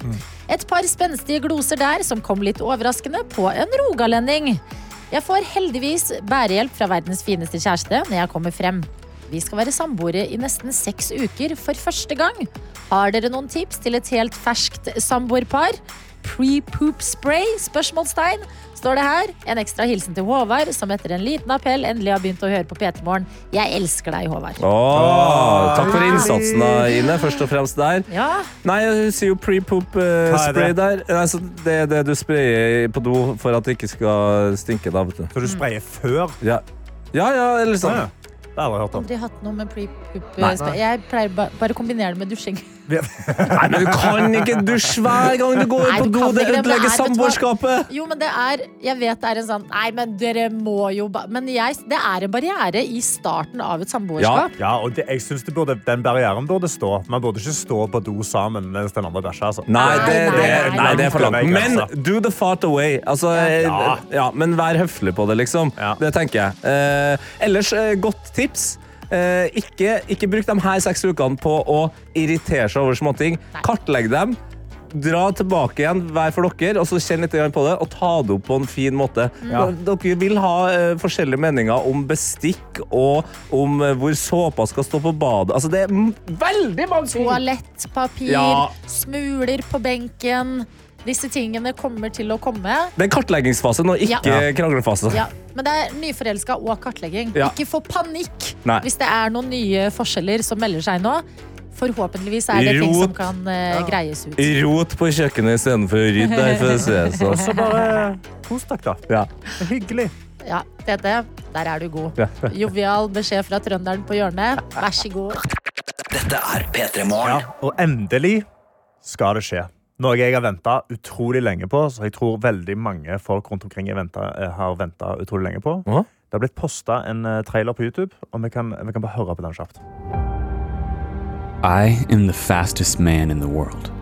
[SPEAKER 3] Et par spenstige gloser der som kom litt overraskende på en rogalending. Jeg får heldigvis bærehjelp fra verdens fineste kjæreste når jeg kommer frem. Vi skal være samboere i nesten seks uker for første gang. Har dere noen tips til et helt ferskt samboerpar? Pre-poop spray? Spørsmålstegn. Står det her. En ekstra hilsen til Håvard, som etter en liten appell endelig har begynt å høre på P3 Morgen. Jeg elsker deg, Håvard.
[SPEAKER 4] Åh, takk for innsatsen, da, Ine. Først og fremst der.
[SPEAKER 3] Ja,
[SPEAKER 4] Nei, hun sier jo pre-poop eh,
[SPEAKER 5] Hva er
[SPEAKER 4] spray
[SPEAKER 5] det?
[SPEAKER 4] der. Nei, så det er det du sprayer på do for at det ikke skal stinke. da, vet du.
[SPEAKER 5] Så du sprayer før?
[SPEAKER 4] Ja, ja, ja eller
[SPEAKER 5] Ah, Ja,
[SPEAKER 4] sånn.
[SPEAKER 5] ja. Det har jeg aldri hørt om.
[SPEAKER 3] aldri hatt noe med pre-poop
[SPEAKER 4] Nei.
[SPEAKER 3] spray. Jeg pleier ba bare å kombinere det med dusjing.
[SPEAKER 4] Nei, men du kan ikke dusje hver gang du går
[SPEAKER 3] Nei,
[SPEAKER 4] på
[SPEAKER 3] du
[SPEAKER 4] do!
[SPEAKER 3] kan
[SPEAKER 4] Det
[SPEAKER 3] ikke det, men det
[SPEAKER 4] ødelegger
[SPEAKER 3] er- vet du hva?
[SPEAKER 4] samboerskapet!
[SPEAKER 3] Jo, men det er Jeg vet det er en sånn Nei, men dere må jo ba Men jeg, det er en barriere i starten av et samboerskap.
[SPEAKER 5] Ja, og det, jeg synes det burde, den barrieren burde stå. Man burde ikke stå på do sammen mens den andre bæsjer. Altså.
[SPEAKER 4] Nei det,
[SPEAKER 3] Nei,
[SPEAKER 4] det,
[SPEAKER 3] nei, nei.
[SPEAKER 4] nei, det er for langt.
[SPEAKER 5] Langt over
[SPEAKER 4] Men
[SPEAKER 5] grensa.
[SPEAKER 4] do the fart away. Altså,
[SPEAKER 5] Ja.
[SPEAKER 4] eh, ja, men vær høflig på det, liksom.
[SPEAKER 5] Ja.
[SPEAKER 4] Det tenker jeg. Eh, ellers, eh, godt tips. Eh, ikke, ikke bruk de her seks ukene på å irritere seg over småting. Kartlegg dem. dra tilbake igjen hver for dere, og så kjenn litt grann på det, og ta det opp på en fin måte. Dere vil ha eh, forskjellige meninger om bestikk og om eh, hvor såpa skal stå på badet. Altså, det er m- veldig mange ting!
[SPEAKER 3] Toalettpapir,
[SPEAKER 4] Ja.
[SPEAKER 3] smuler på benken. Disse tingene kommer til å komme.
[SPEAKER 4] Det er kartleggingsfasen og ikke
[SPEAKER 3] Ja.
[SPEAKER 4] kranglefasen.
[SPEAKER 3] Ja, men det er nyforelska og kartlegging.
[SPEAKER 4] Ja.
[SPEAKER 3] Ikke få panikk
[SPEAKER 4] Nei.
[SPEAKER 3] hvis det er noen nye forskjeller som melder seg nå. Forhåpentligvis er det ting
[SPEAKER 4] Rot.
[SPEAKER 3] som kan eh, greies ut.
[SPEAKER 4] Rot på kjøkkenet istedenfor rydd. der, for å si det sånn.
[SPEAKER 5] Så bare kos dere, da.
[SPEAKER 4] Ja.
[SPEAKER 5] Det er hyggelig.
[SPEAKER 3] Ja, Tete, der er du god. Jovial beskjed fra trønderen på hjørnet. Vær så god.
[SPEAKER 1] Dette er P3 Morgen.
[SPEAKER 5] Og endelig skal det skje. Noe jeg har venta utrolig lenge på, så jeg tror veldig mange folk rundt omkring jeg ventet, eh, har venta utrolig lenge på.
[SPEAKER 4] Hva?
[SPEAKER 5] Det har blitt posta en eh, trailer på YouTube, og vi kan, vi kan bare høre på den kjapt.
[SPEAKER 10] I am the fastest man in the world.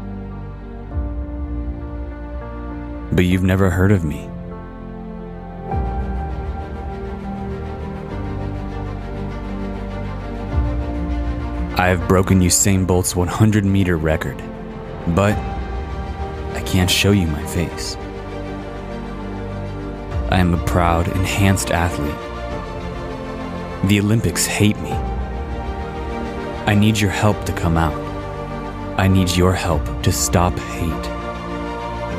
[SPEAKER 10] But you've never heard of me. I have broken Usain Bolt's 100 meter record, but I can't show you my face. I am a proud, enhanced athlete. The Olympics hate me. I need your help to come out. I need your help to stop hate.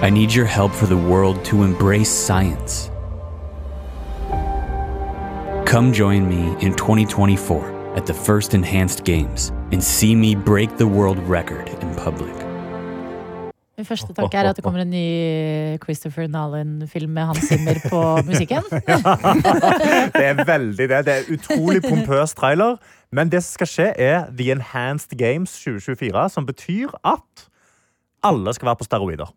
[SPEAKER 10] I need your help for the world to embrace science. Come join me in 2024 at the first Enhanced Games and see me break the world record in public.
[SPEAKER 3] Min første tanke er at det kommer en ny Christopher Nolan-film med Hans Zimmer på musikken.
[SPEAKER 5] Det er veldig det. Det er utrolig pompøs trailer. Men det som skal skje, er The Enhanced Games 2024, som betyr at alle skal være på steroider.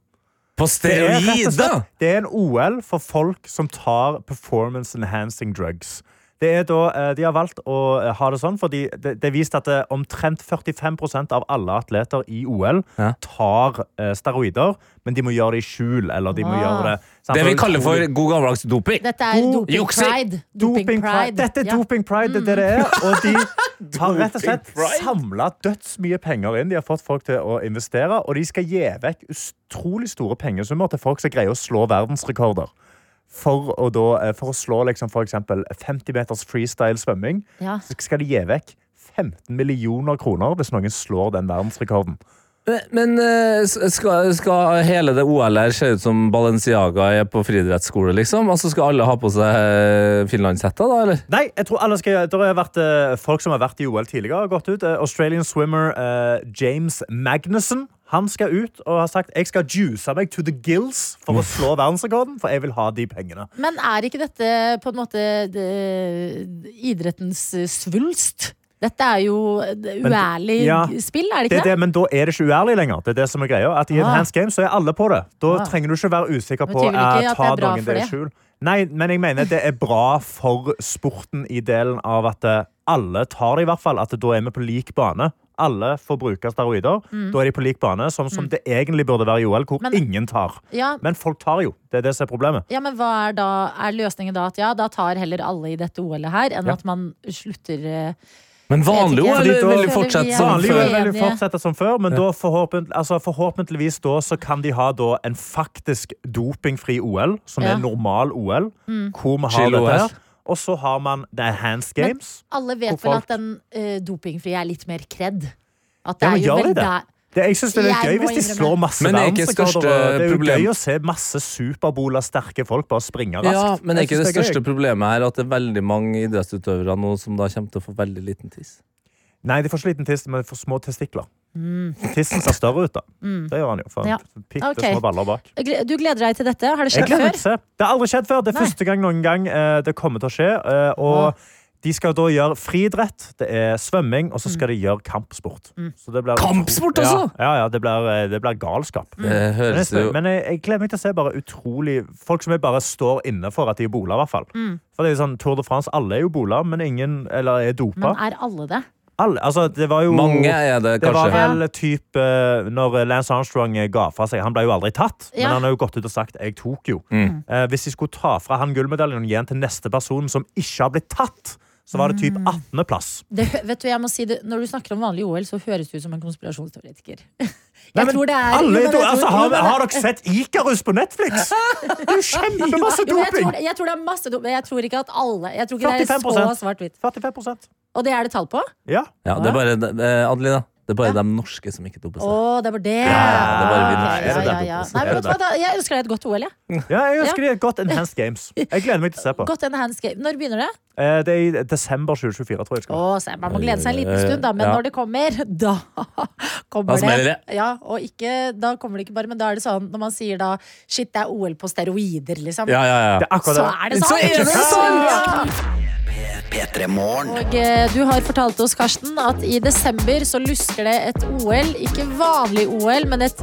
[SPEAKER 4] På
[SPEAKER 5] Det er, rett og
[SPEAKER 4] steroider!
[SPEAKER 5] slett, det er en OL for folk som tar performance enhancing drugs. Det er da, eh, de har valgt å eh, ha det sånn, fordi det, det er vist at eh, omtrent 45 av alle atleter i OL
[SPEAKER 4] Ja.
[SPEAKER 5] tar eh, steroider, men de må gjøre det i skjul. Eller de må
[SPEAKER 3] Ah.
[SPEAKER 5] gjøre det, sant?
[SPEAKER 4] Det vi kaller for god gammeldags doping.
[SPEAKER 3] Dette er
[SPEAKER 5] God
[SPEAKER 3] Doping
[SPEAKER 4] juksing.
[SPEAKER 3] Pride.
[SPEAKER 5] Doping pride. Dette er
[SPEAKER 3] Ja. Mm.
[SPEAKER 5] doping pride, det er det det er. Og de har rett og slett samla dødsmye penger inn. De har fått folk til å investere, og de skal gi vekk utrolig store pengesummer til folk som greier å slå verdensrekorder. For å, da, eh, for å slå liksom for eksempel 50 meters freestyle svømming,
[SPEAKER 3] Ja.
[SPEAKER 5] så skal de gi vekk 15 millioner kroner hvis noen slår den verdensrekorden.
[SPEAKER 4] Men eh, s- skal, skal hele det OL-et her se ut som Balenciaga er på friidrettsskole, liksom? Altså Skal alle ha på seg eh, finlandshetta, da, eller?
[SPEAKER 5] Nei, jeg tror alle skal Det har vært eh, folk som har vært i OL tidligere, har gått ut. Eh, Australian swimmer eh, James Magnussen. Han skal ut og har sagt jeg skal juice meg to the gills for å slå verdensrekorden. For jeg vil ha de pengene.
[SPEAKER 3] Men er ikke dette på en måte det, idrettens svulst? Dette er jo det uærlig
[SPEAKER 5] ja.
[SPEAKER 3] spill, er det
[SPEAKER 5] Det
[SPEAKER 3] ikke
[SPEAKER 5] er det, men da er det ikke uærlig lenger. Det er det som er greia. At I
[SPEAKER 3] Ah.
[SPEAKER 5] Enhanced Games så er alle på det. Da
[SPEAKER 3] Ah.
[SPEAKER 5] trenger du ikke være usikker
[SPEAKER 3] Men
[SPEAKER 5] på
[SPEAKER 3] betyr vel ikke
[SPEAKER 5] eh,
[SPEAKER 3] at det
[SPEAKER 5] ta
[SPEAKER 3] er bra
[SPEAKER 5] noen
[SPEAKER 3] for
[SPEAKER 5] det i
[SPEAKER 3] det?
[SPEAKER 5] skjul. Nei, men jeg mener det er bra for sporten i delen av at eh, alle tar det, i hvert fall. At da er vi på lik bane. Alle får bruke steroider. Da er de på lik bane, sånn som det egentlig burde være i OL, hvor
[SPEAKER 3] Mm. Men-
[SPEAKER 5] ingen tar.
[SPEAKER 3] Ja,
[SPEAKER 5] Men folk tar jo. Det er det som er problemet.
[SPEAKER 3] ja, men hva er da Er løsningen da at ja, da tar heller alle i dette OL-et her, enn
[SPEAKER 5] Ja.
[SPEAKER 3] at man slutter eh,
[SPEAKER 4] Men vanlig
[SPEAKER 3] Jeg vet ikke.
[SPEAKER 4] OL vil
[SPEAKER 5] Fordi da-
[SPEAKER 4] jo fortsette
[SPEAKER 3] Ja,
[SPEAKER 4] som
[SPEAKER 5] Vanlig
[SPEAKER 3] Vanlig
[SPEAKER 5] vil
[SPEAKER 4] før.
[SPEAKER 3] OL.
[SPEAKER 5] vel
[SPEAKER 3] Enig.
[SPEAKER 5] fortsette som før, men da forhåpent, altså forhåpentligvis da så kan de ha da en faktisk dopingfri OL, som
[SPEAKER 3] Ja. Mm.
[SPEAKER 5] er normal OL, hvor vi har
[SPEAKER 4] Chill
[SPEAKER 5] dette
[SPEAKER 4] OL.
[SPEAKER 5] her. Og så har man The Hands Games.
[SPEAKER 3] Alle vet
[SPEAKER 5] Hvorfor
[SPEAKER 3] vel at den eh, dopingfrie er litt mer kredd. At
[SPEAKER 5] Ja, men gjør de
[SPEAKER 3] veldig-
[SPEAKER 5] det? Det, jeg synes det er litt
[SPEAKER 3] Jeg må
[SPEAKER 5] gøy hvis de
[SPEAKER 3] innrømme.
[SPEAKER 5] slår masse
[SPEAKER 4] Men det er ikke
[SPEAKER 5] verdensrekorder.
[SPEAKER 4] største
[SPEAKER 5] og Det er jo
[SPEAKER 4] problem.
[SPEAKER 5] gøy å se masse superbola sterke folk bare springe raskt.
[SPEAKER 4] Ja, men er
[SPEAKER 5] Jeg
[SPEAKER 4] ikke
[SPEAKER 5] synes
[SPEAKER 4] det
[SPEAKER 5] er gøy.
[SPEAKER 4] største problemet her at det er veldig mange idrettsutøvere nå som da kommer til å få veldig liten tiss?
[SPEAKER 5] Nei, de får ikke liten tiss, men de får små testikler. Tissen ser større ut, da. Det gjør han jo. For
[SPEAKER 3] Mm. Ja.
[SPEAKER 5] Pitte
[SPEAKER 3] Ok.
[SPEAKER 5] små baller bak.
[SPEAKER 3] Gle- Du gleder deg til dette? Har det
[SPEAKER 5] Jeg
[SPEAKER 3] skjedd
[SPEAKER 5] gleder meg
[SPEAKER 3] før?
[SPEAKER 5] til å se. Det har aldri skjedd før. Det er
[SPEAKER 3] Nei.
[SPEAKER 5] første gang noen gang eh, det kommer til å skje. eh, og de skal da gjøre friidrett, det er svømming,
[SPEAKER 3] Mm.
[SPEAKER 5] og så skal de gjøre kampsport. Så det blir-
[SPEAKER 4] Kampsport også?
[SPEAKER 5] Ja, ja, ja det, blir, eh, det blir
[SPEAKER 3] Mm.
[SPEAKER 5] galskap.
[SPEAKER 4] Det
[SPEAKER 5] Men, jeg,
[SPEAKER 4] høres jo
[SPEAKER 5] spør- men jeg, jeg gleder meg til å se bare utrolig folk som jeg bare står inne for at de er bola, i hvert fall.
[SPEAKER 3] Mm.
[SPEAKER 5] For det er sånn, Tour de France, alle er jo bola, men ingen eller er
[SPEAKER 3] Men
[SPEAKER 5] dopa.
[SPEAKER 3] er alle det?
[SPEAKER 5] Alle, altså, det var jo
[SPEAKER 4] Mange er det,
[SPEAKER 5] det var
[SPEAKER 4] kanskje.
[SPEAKER 5] vel type eh, når Lance Armstrong eh, ga fra seg. Han ble jo aldri tatt,
[SPEAKER 3] Ja.
[SPEAKER 5] men han har jo gått ut og sagt 'jeg
[SPEAKER 4] Mm.
[SPEAKER 5] Mm. tok jo'. Eh, hvis de skulle ta fra han gullmedaljen og gi den til neste person som ikke har blitt tatt, så var det typ 18.-plass.
[SPEAKER 3] Det, hø- vet du, jeg må si det, Når du snakker om vanlig OL, så høres du ut som en konspirasjonsteoretiker. Jeg
[SPEAKER 5] Nei, men
[SPEAKER 3] tror det er
[SPEAKER 5] alle,
[SPEAKER 3] jo, men jeg
[SPEAKER 5] do-
[SPEAKER 3] tror-
[SPEAKER 5] altså,
[SPEAKER 3] jo,
[SPEAKER 5] har,
[SPEAKER 3] men-
[SPEAKER 5] har dere sett Ikarus på Netflix? Det er jo
[SPEAKER 3] Jo,
[SPEAKER 5] kjempemasse
[SPEAKER 3] men jeg, tror,
[SPEAKER 5] doping!
[SPEAKER 3] det- jeg tror det er masse doping. Jeg tror ikke at alle Jeg tror ikke det er så
[SPEAKER 5] 45%.
[SPEAKER 3] svart-hvitt.
[SPEAKER 5] 45
[SPEAKER 3] Og det er det tall på?
[SPEAKER 5] Ja.
[SPEAKER 4] Ja, det er bare, eh, Adelina, det er bare de norske som ikke doper
[SPEAKER 3] Å,
[SPEAKER 4] seg.
[SPEAKER 3] det var det!
[SPEAKER 4] det var vi
[SPEAKER 3] Ok,
[SPEAKER 4] norske. Er det
[SPEAKER 3] ja, ja,
[SPEAKER 4] der?
[SPEAKER 3] ja. Nei, men vet
[SPEAKER 5] Er det
[SPEAKER 3] du hva, da, jeg ønsker deg et godt OL, jeg.
[SPEAKER 5] ja, jeg ønsker de et godt Enhanced Games. Jeg gleder meg til å se på.
[SPEAKER 3] Godt enhanced game. Når begynner det?
[SPEAKER 5] Eh, Det er i desember 2024, tror jeg. det
[SPEAKER 3] Å,
[SPEAKER 5] skal.
[SPEAKER 3] så Man må glede seg en liten stund, da. Men
[SPEAKER 4] Ja.
[SPEAKER 3] når det kommer, da kommer
[SPEAKER 4] Da smeller
[SPEAKER 3] det. Ja, og ikke, da kommer det ikke bare, men da er det sånn når man sier da Shit, det er OL på steroider, liksom.
[SPEAKER 4] Ja, ja, ja.
[SPEAKER 5] Det er akkurat
[SPEAKER 3] Så
[SPEAKER 5] det.
[SPEAKER 3] er det sånn!
[SPEAKER 4] er det sånn!
[SPEAKER 3] Ja.
[SPEAKER 1] P3 Morgen.
[SPEAKER 3] Og eh, du har fortalt oss, Karsten, at i desember så lusker det et OL. Ikke vanlig OL, men et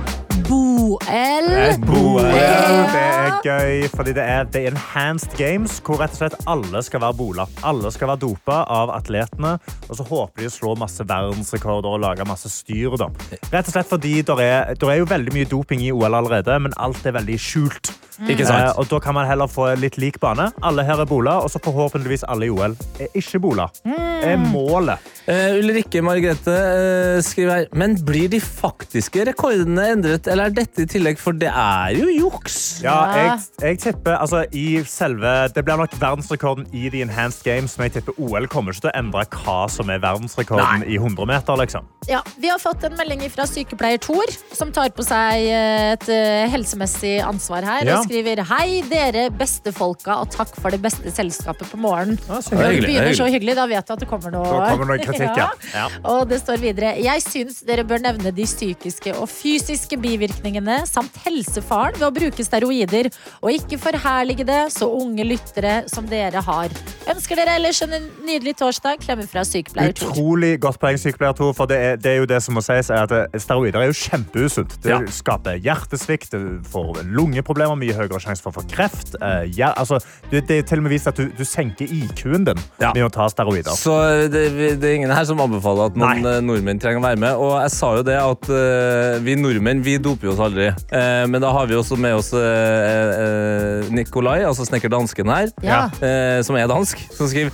[SPEAKER 3] BOL.
[SPEAKER 5] Et boel. Det er
[SPEAKER 3] Ja.
[SPEAKER 5] gøy, fordi det er The Enhanced Games, hvor rett og slett alle skal være bola. Alle skal være dopa av atletene, og så håper de å slå masse verdensrekorder og lage masse styr. Da. Rett og slett fordi det er, der er jo veldig mye doping i OL allerede, men alt er veldig skjult.
[SPEAKER 4] Mm. Ikke sant?
[SPEAKER 5] Eh, og da kan man heller få litt lik bane. Alle her er bola, og så forhåpentligvis alle i OL er ikke bola.
[SPEAKER 4] Mm.
[SPEAKER 5] Er målet.
[SPEAKER 4] Eh, Ulrikke Margrethe eh, skriver her Men blir de faktiske rekordene endret, eller er dette i tillegg? For det er jo juks!
[SPEAKER 5] Ja,
[SPEAKER 3] Ja.
[SPEAKER 5] jeg, jeg tipper altså, i selve, Det blir nok verdensrekorden i The Enhanced Games, men jeg tipper OL kommer ikke til å endre hva som er verdensrekorden i 100 meter. liksom.
[SPEAKER 3] Ja, vi har fått en melding fra sykepleier Thor, som tar på seg et eh, helsemessig ansvar her.
[SPEAKER 5] Ja.
[SPEAKER 3] Og skriver Hei, dere beste folka, og takk for det beste selskapet på morgenen.
[SPEAKER 5] så hyggelig,
[SPEAKER 3] Når det
[SPEAKER 4] det er
[SPEAKER 3] begynner sånn. så
[SPEAKER 4] hyggelig.
[SPEAKER 3] hyggelig, da vet du at det kommer noe.
[SPEAKER 5] Da kommer det noe kritikk, ja. Ja.
[SPEAKER 3] Og det står videre Jeg syns dere bør nevne de psykiske og fysiske bivirkningene samt helsefaren ved å bruke steroider, og ikke forherlige det så unge lyttere som dere har. Ønsker dere ellers en nydelig torsdag. Klemmer fra sykepleier Thor.
[SPEAKER 5] Utrolig godt poeng, sykepleier Tor. For det er, det er jo det som må sies, er at eh, steroider er jo kjempeusunt. Det
[SPEAKER 4] Ja.
[SPEAKER 5] skaper hjertesvikt, du får lungeproblemer, mye høyere sjanse for å få kreft. Eh, ja, altså, det, det er til og med vist at du, du senker IQ-en din
[SPEAKER 4] Ja.
[SPEAKER 5] med å ta steroider.
[SPEAKER 4] Så det, det er ingen her som anbefaler at noen
[SPEAKER 5] Nei.
[SPEAKER 4] eh, nordmenn trenger å være med. Og jeg sa jo det at eh, vi nordmenn vi doper jo oss aldri. Eh, men da har vi også med oss eh, eh, Nikolai, altså snekker dansken her,
[SPEAKER 3] Ja.
[SPEAKER 4] eh, som er dansk, som skriver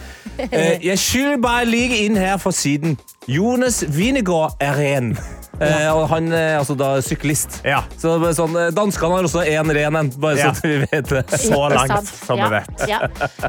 [SPEAKER 4] eh, Jeg skylder bare ligge inn her for siden. Jonas Winegård er ren. Eh, og han er altså da syklist.
[SPEAKER 5] Ja.
[SPEAKER 4] Så det er bare sånn, eh, Danskene har også én ren en, bare
[SPEAKER 5] Ja.
[SPEAKER 4] så vi vet det.
[SPEAKER 5] Så
[SPEAKER 3] Ikke
[SPEAKER 5] langt,
[SPEAKER 3] sant?
[SPEAKER 5] som vi
[SPEAKER 3] ja.
[SPEAKER 5] vet.
[SPEAKER 3] Ja.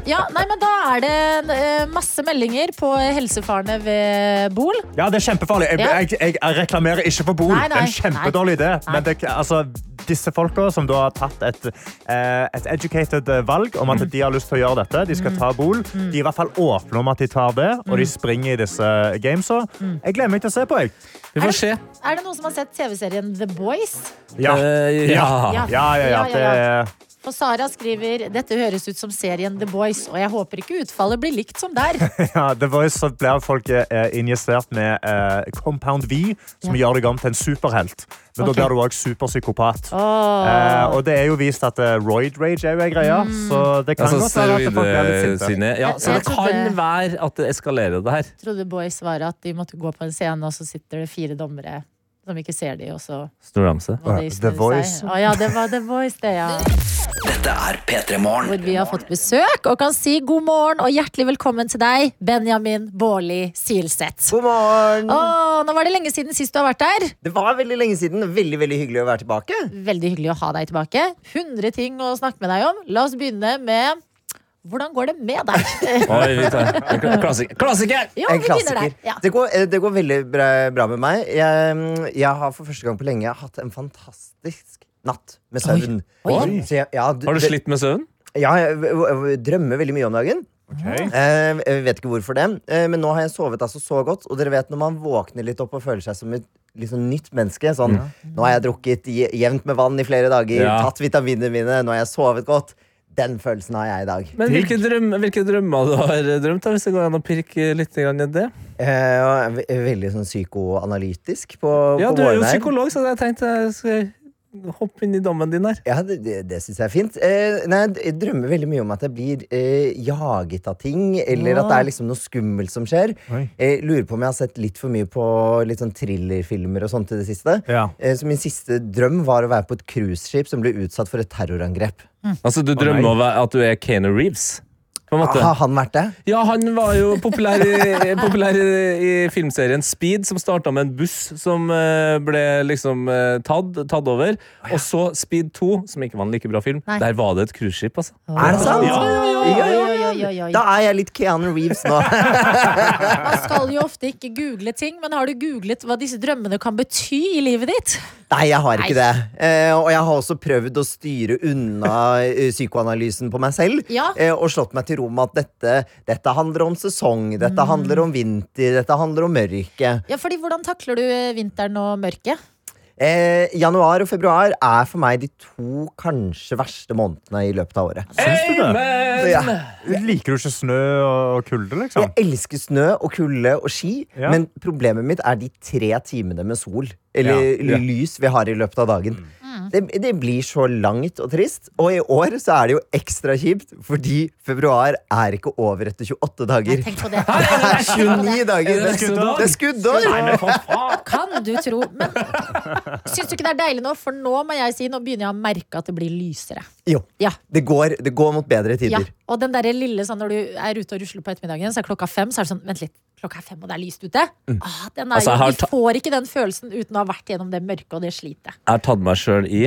[SPEAKER 3] ja, nei, men da er det eh, masse meldinger på helsefarene ved Bol.
[SPEAKER 5] Ja, det er kjempefarlig. Jeg,
[SPEAKER 3] Ja.
[SPEAKER 5] jeg, jeg, reklamerer ikke for Bol.
[SPEAKER 3] Nei, nei,
[SPEAKER 5] det er en kjempedårlig idé. Men det, altså, disse folka som da har tatt et, eh, et educated eh, valg om
[SPEAKER 3] Mm.
[SPEAKER 5] at de har lyst til å gjøre dette, de skal ta Bol. De er i hvert fall åpne om at de tar det, og
[SPEAKER 3] Mm.
[SPEAKER 5] de springer i disse gamesa. Jeg gleder meg til å se på, jeg.
[SPEAKER 4] Vi får se.
[SPEAKER 3] Er det noen som har sett TV-serien The Boys?
[SPEAKER 5] Ja,
[SPEAKER 4] Eh,
[SPEAKER 5] Ah, ja, ja. ja,
[SPEAKER 3] Ja, ja,
[SPEAKER 5] det
[SPEAKER 3] ja.
[SPEAKER 5] er
[SPEAKER 3] Og Sara skriver dette høres ut som serien The Boys, og jeg håper ikke utfallet blir likt som der.
[SPEAKER 5] Ja, The Voice så blir folk eh, injisert med eh, Compound V, som
[SPEAKER 3] Ja.
[SPEAKER 5] gjør deg om til en superhelt. Men
[SPEAKER 3] Ok.
[SPEAKER 5] da blir du òg superpsykopat. Eh,
[SPEAKER 3] Åh.
[SPEAKER 5] og det er jo vist at eh, roid rage er jo en greie, så det kan
[SPEAKER 4] Altså,
[SPEAKER 5] godt være at folk blir litt sinte.
[SPEAKER 4] steroidsinne. Ja,
[SPEAKER 3] Jeg-
[SPEAKER 4] så
[SPEAKER 3] jeg
[SPEAKER 4] det
[SPEAKER 3] trodde-
[SPEAKER 4] kan være at det eskalerer det her.
[SPEAKER 3] Jeg trodde Boys var at de måtte gå på en scene, og så sitter det fire dommere som ikke ser de, og så
[SPEAKER 4] Snoramse.
[SPEAKER 3] må de
[SPEAKER 5] The
[SPEAKER 3] snu
[SPEAKER 5] Voice.
[SPEAKER 3] seg. Å ja, det var The Voice, det, ja.
[SPEAKER 1] Dette er P3 Morgen.
[SPEAKER 3] Hvor vi har fått besøk og kan si god morgen og hjertelig velkommen til deg, Benjamin Bårli Silseth.
[SPEAKER 11] God morgen!
[SPEAKER 3] Åh, nå var det lenge siden sist du har vært der.
[SPEAKER 11] Det var veldig lenge siden. Veldig veldig hyggelig å være tilbake.
[SPEAKER 3] Veldig hyggelig å ha deg tilbake. 100 ting å snakke med deg om. La oss begynne med hvordan går det med deg?
[SPEAKER 4] Oi, vi tar en kla- klassik- Klassiker!
[SPEAKER 3] Ja, vi begynner der. Ja.
[SPEAKER 11] Det, går, eh, det går veldig bra, bra med meg. Jeg, mm, jeg har for første gang på lenge hatt en fantastisk natt med søvn.
[SPEAKER 4] Oi.
[SPEAKER 11] Så jeg, ja, d-
[SPEAKER 4] Har du
[SPEAKER 11] d-
[SPEAKER 4] slitt med søvnen?
[SPEAKER 11] Ja, jeg v- v- drømmer veldig mye om dagen.
[SPEAKER 5] Ok.
[SPEAKER 11] Eh, Jeg vet ikke hvorfor det, eh, men nå har jeg sovet altså så godt. Og dere vet når man våkner litt opp og føler seg som et liksom, nytt menneske. Sånn, Nå har jeg drukket je- jevnt med vann i flere dager,
[SPEAKER 4] Ja.
[SPEAKER 11] tatt vitaminene mine, nå har jeg sovet godt. Den følelsen har jeg i dag.
[SPEAKER 4] Men hvilke, drøm, hvilke drømmer du har eh, drømt, da, hvis det går an å pirke litt grann i det?
[SPEAKER 11] Eh, og jeg er ve- veldig sånn psykoanalytisk på,
[SPEAKER 4] Ja,
[SPEAKER 11] på
[SPEAKER 4] du er jo
[SPEAKER 11] morgenen her.
[SPEAKER 4] psykolog, så jeg tenkte jeg skal hoppe inn i dommen din her.
[SPEAKER 11] Ja, det, det, det syns jeg er fint. Eh, nei, jeg drømmer veldig mye om at jeg blir eh, jaget av ting, eller at det er liksom noe skummelt som skjer.
[SPEAKER 5] Oi.
[SPEAKER 11] Eh, lurer på om jeg har sett litt for mye på litt sånn thrillerfilmer og sånt i det siste.
[SPEAKER 5] Ja.
[SPEAKER 11] Eh, så min siste drøm var å være på et cruiseskip som ble utsatt for et terrorangrep.
[SPEAKER 4] Altså, du drømmer over at du er Keanu Reeves. på en måte.
[SPEAKER 11] Har Ah, han vært det?
[SPEAKER 4] Ja, han var jo populær i, populær i, i filmserien Speed, som starta med en buss som eh, ble liksom eh, tatt, tatt over. Og så Speed 2, som ikke var en like bra film.
[SPEAKER 3] Nei.
[SPEAKER 4] Der var det et cruiseskip, altså.
[SPEAKER 11] Er det sant?
[SPEAKER 4] Ja, ja, ja.
[SPEAKER 3] Oi,
[SPEAKER 11] Ja, ja, ja.
[SPEAKER 3] oi, oi, oi.
[SPEAKER 11] Da er jeg litt Keanu Reeves nå.
[SPEAKER 3] Man skal jo ofte ikke google ting, men har du googlet hva disse drømmene kan bety i livet ditt?
[SPEAKER 11] Nei, jeg har ikke
[SPEAKER 3] Nei.
[SPEAKER 11] det. Eh, og jeg har også prøvd å styre unna eh, psykoanalysen på meg selv.
[SPEAKER 3] Ja.
[SPEAKER 11] Eh, og slått meg til ro med at dette, dette handler om sesong, dette
[SPEAKER 3] Mm.
[SPEAKER 11] handler om vinter, dette handler om mørke.
[SPEAKER 3] Ja, fordi Hvordan takler du eh, vinteren og mørket?
[SPEAKER 11] Eh, januar og februar er for meg de to kanskje verste månedene i løpet av året.
[SPEAKER 5] Syns du det?
[SPEAKER 11] Ja.
[SPEAKER 5] Liker du ikke snø og kulde, liksom?
[SPEAKER 11] Jeg elsker snø og kulde og ski,
[SPEAKER 5] Ja.
[SPEAKER 11] men problemet mitt er de tre timene med sol eller
[SPEAKER 5] Ja, ja.
[SPEAKER 11] lys vi har i løpet av dagen. Det, det blir så langt og trist. Og i år så er det jo ekstra kjipt, fordi februar er ikke over etter 28 dager.
[SPEAKER 3] Nei, tenk på det.
[SPEAKER 11] Det er 29 dager!
[SPEAKER 4] det skuddår?
[SPEAKER 11] Det er skuddår!
[SPEAKER 4] Nei, men for faen!
[SPEAKER 3] Kan du tro. Men syns du ikke det er deilig nå? For nå må jeg si, nå begynner jeg å merke at det blir lysere.
[SPEAKER 11] Jo,
[SPEAKER 3] Ja.
[SPEAKER 11] det går, det går mot bedre
[SPEAKER 3] ja.
[SPEAKER 11] tider.
[SPEAKER 3] Og den derre lille sånn når du er ute og rusler på ettermiddagen, så er klokka fem, så er det sånn Vent litt. Klokka er fem, og det er lyst ute. Ah, den er
[SPEAKER 4] Altså, jeg har
[SPEAKER 3] jo,
[SPEAKER 4] ta-
[SPEAKER 3] vi får ikke den følelsen uten å ha vært gjennom det mørket og det slitet.
[SPEAKER 4] Jeg har tatt meg sjøl i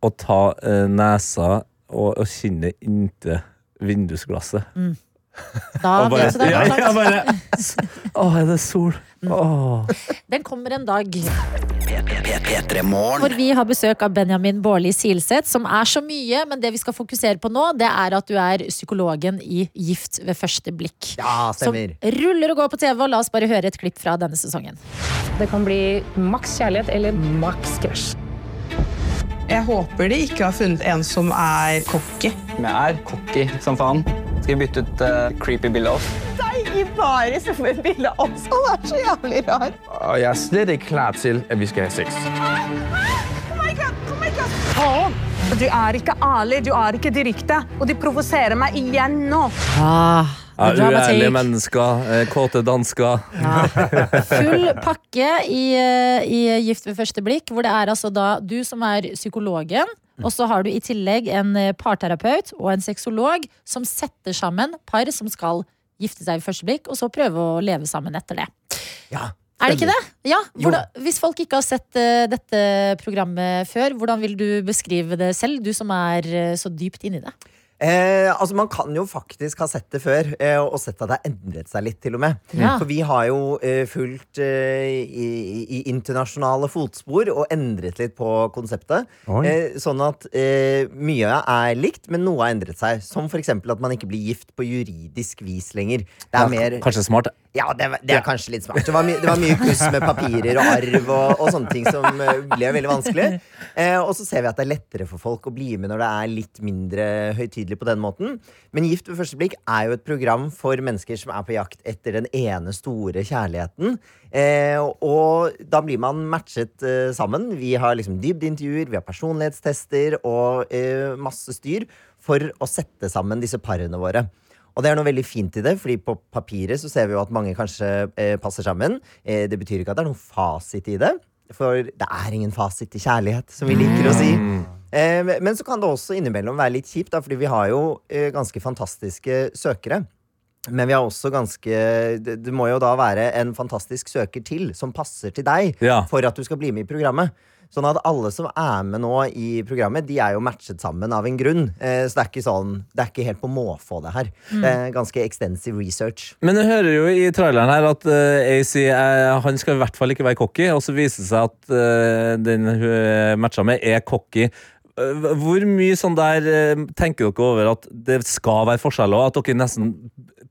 [SPEAKER 4] å ta eh, nesa og, og kinnet inntil vindusglasset.
[SPEAKER 3] Da
[SPEAKER 4] Og bare-
[SPEAKER 3] vet du det er
[SPEAKER 4] Ja,
[SPEAKER 3] kontakt.
[SPEAKER 4] ja, bare, Å, er det sol? Åh.
[SPEAKER 3] Den kommer en dag.
[SPEAKER 1] P3morgen.
[SPEAKER 3] Hvor vi har besøk av Benjamin Baarli Silseth, som er så mye, men det vi skal fokusere på nå, det er at du er psykologen i Gift ved første blikk.
[SPEAKER 11] Ja,
[SPEAKER 3] Som
[SPEAKER 11] stemmer.
[SPEAKER 3] ruller og går på TV, og la oss bare høre et klipp fra denne sesongen.
[SPEAKER 2] Det kan bli maks kjærlighet eller maks krasj.
[SPEAKER 8] Jeg håper de ikke har funnet en som er cocky.
[SPEAKER 7] Vi er cocky som faen. Skal vi bytte ut creepy bilde av oss?
[SPEAKER 9] jeg er slet ikke klar til, at vi skal have sex.
[SPEAKER 8] Du er ikke ærlig, du er ikke direkte, og de provoserer meg igjen nå.
[SPEAKER 3] Ah,
[SPEAKER 4] Ja, uærlige
[SPEAKER 3] dramatikk.
[SPEAKER 4] mennesker. eh, Kåte dansker.
[SPEAKER 3] Full pakke i, eh, i Gift ved første blikk, hvor det er altså da du som er psykologen,
[SPEAKER 11] Mm.
[SPEAKER 3] og så har du i tillegg en eh, parterapeut og en sexolog som setter sammen par som skal gifte seg ved første blikk, og så prøve å leve sammen etter det.
[SPEAKER 11] Ja,
[SPEAKER 3] Er det ikke det? Ja,
[SPEAKER 11] Jo.
[SPEAKER 3] hvordan, Hvis folk ikke har sett eh, dette programmet før, hvordan vil du beskrive det selv? Du som er eh, så dypt inni det.
[SPEAKER 11] Eh, altså Man kan jo faktisk ha sett det før, eh, og sett at det har endret seg litt. til og med
[SPEAKER 3] Ja.
[SPEAKER 11] For vi har jo eh, fulgt eh, i, i internasjonale fotspor og endret litt på konseptet.
[SPEAKER 5] Oi.
[SPEAKER 11] Eh, sånn at eh, mye er likt, men noe har endret seg. Som f.eks. at man ikke blir gift på juridisk vis lenger. Det er mer
[SPEAKER 4] Kanskje smart.
[SPEAKER 11] ja, det, var- det er kanskje litt smart. Det var, my, det var mye kluss med papirer og arv og, og sånne ting som eh, ble veldig vanskelig. Eh, og så ser vi at det er lettere for folk å bli med når det er litt mindre høytidelig på den måten. Men Gift ved første blikk er jo et program for mennesker som er på jakt etter den ene store kjærligheten. Eh, og da blir man matchet eh, sammen. Vi har liksom dybdeintervjuer, vi har personlighetstester og eh, masse styr for å sette sammen disse parene våre. Og det er noe veldig fint i det, fordi på papiret så ser vi jo at mange kanskje eh, passer sammen. Eh, det betyr ikke at det er noen fasit i det, for det er ingen fasit til kjærlighet, som vi liker å si. Eh, men så kan det også innimellom være litt kjipt, da, fordi vi har jo eh, ganske fantastiske søkere. Men vi har også ganske det, det må jo da være en fantastisk søker til som passer til deg
[SPEAKER 4] Ja.
[SPEAKER 11] for at du skal bli med i programmet. Sånn at alle som er med nå i programmet, de er jo matchet sammen av en grunn. Eh, så det er ikke sånn, det er ikke helt på måfå, det her. Det er ganske extensive research.
[SPEAKER 4] Men jeg hører jo i traileren her at eh, AC eh, han skal i hvert fall ikke være cocky, og så viser det seg at eh, den hun er matcha med, er cocky. Eh, Hvor mye sånn der eh, tenker dere over at det skal være forskjeller, og at dere nesten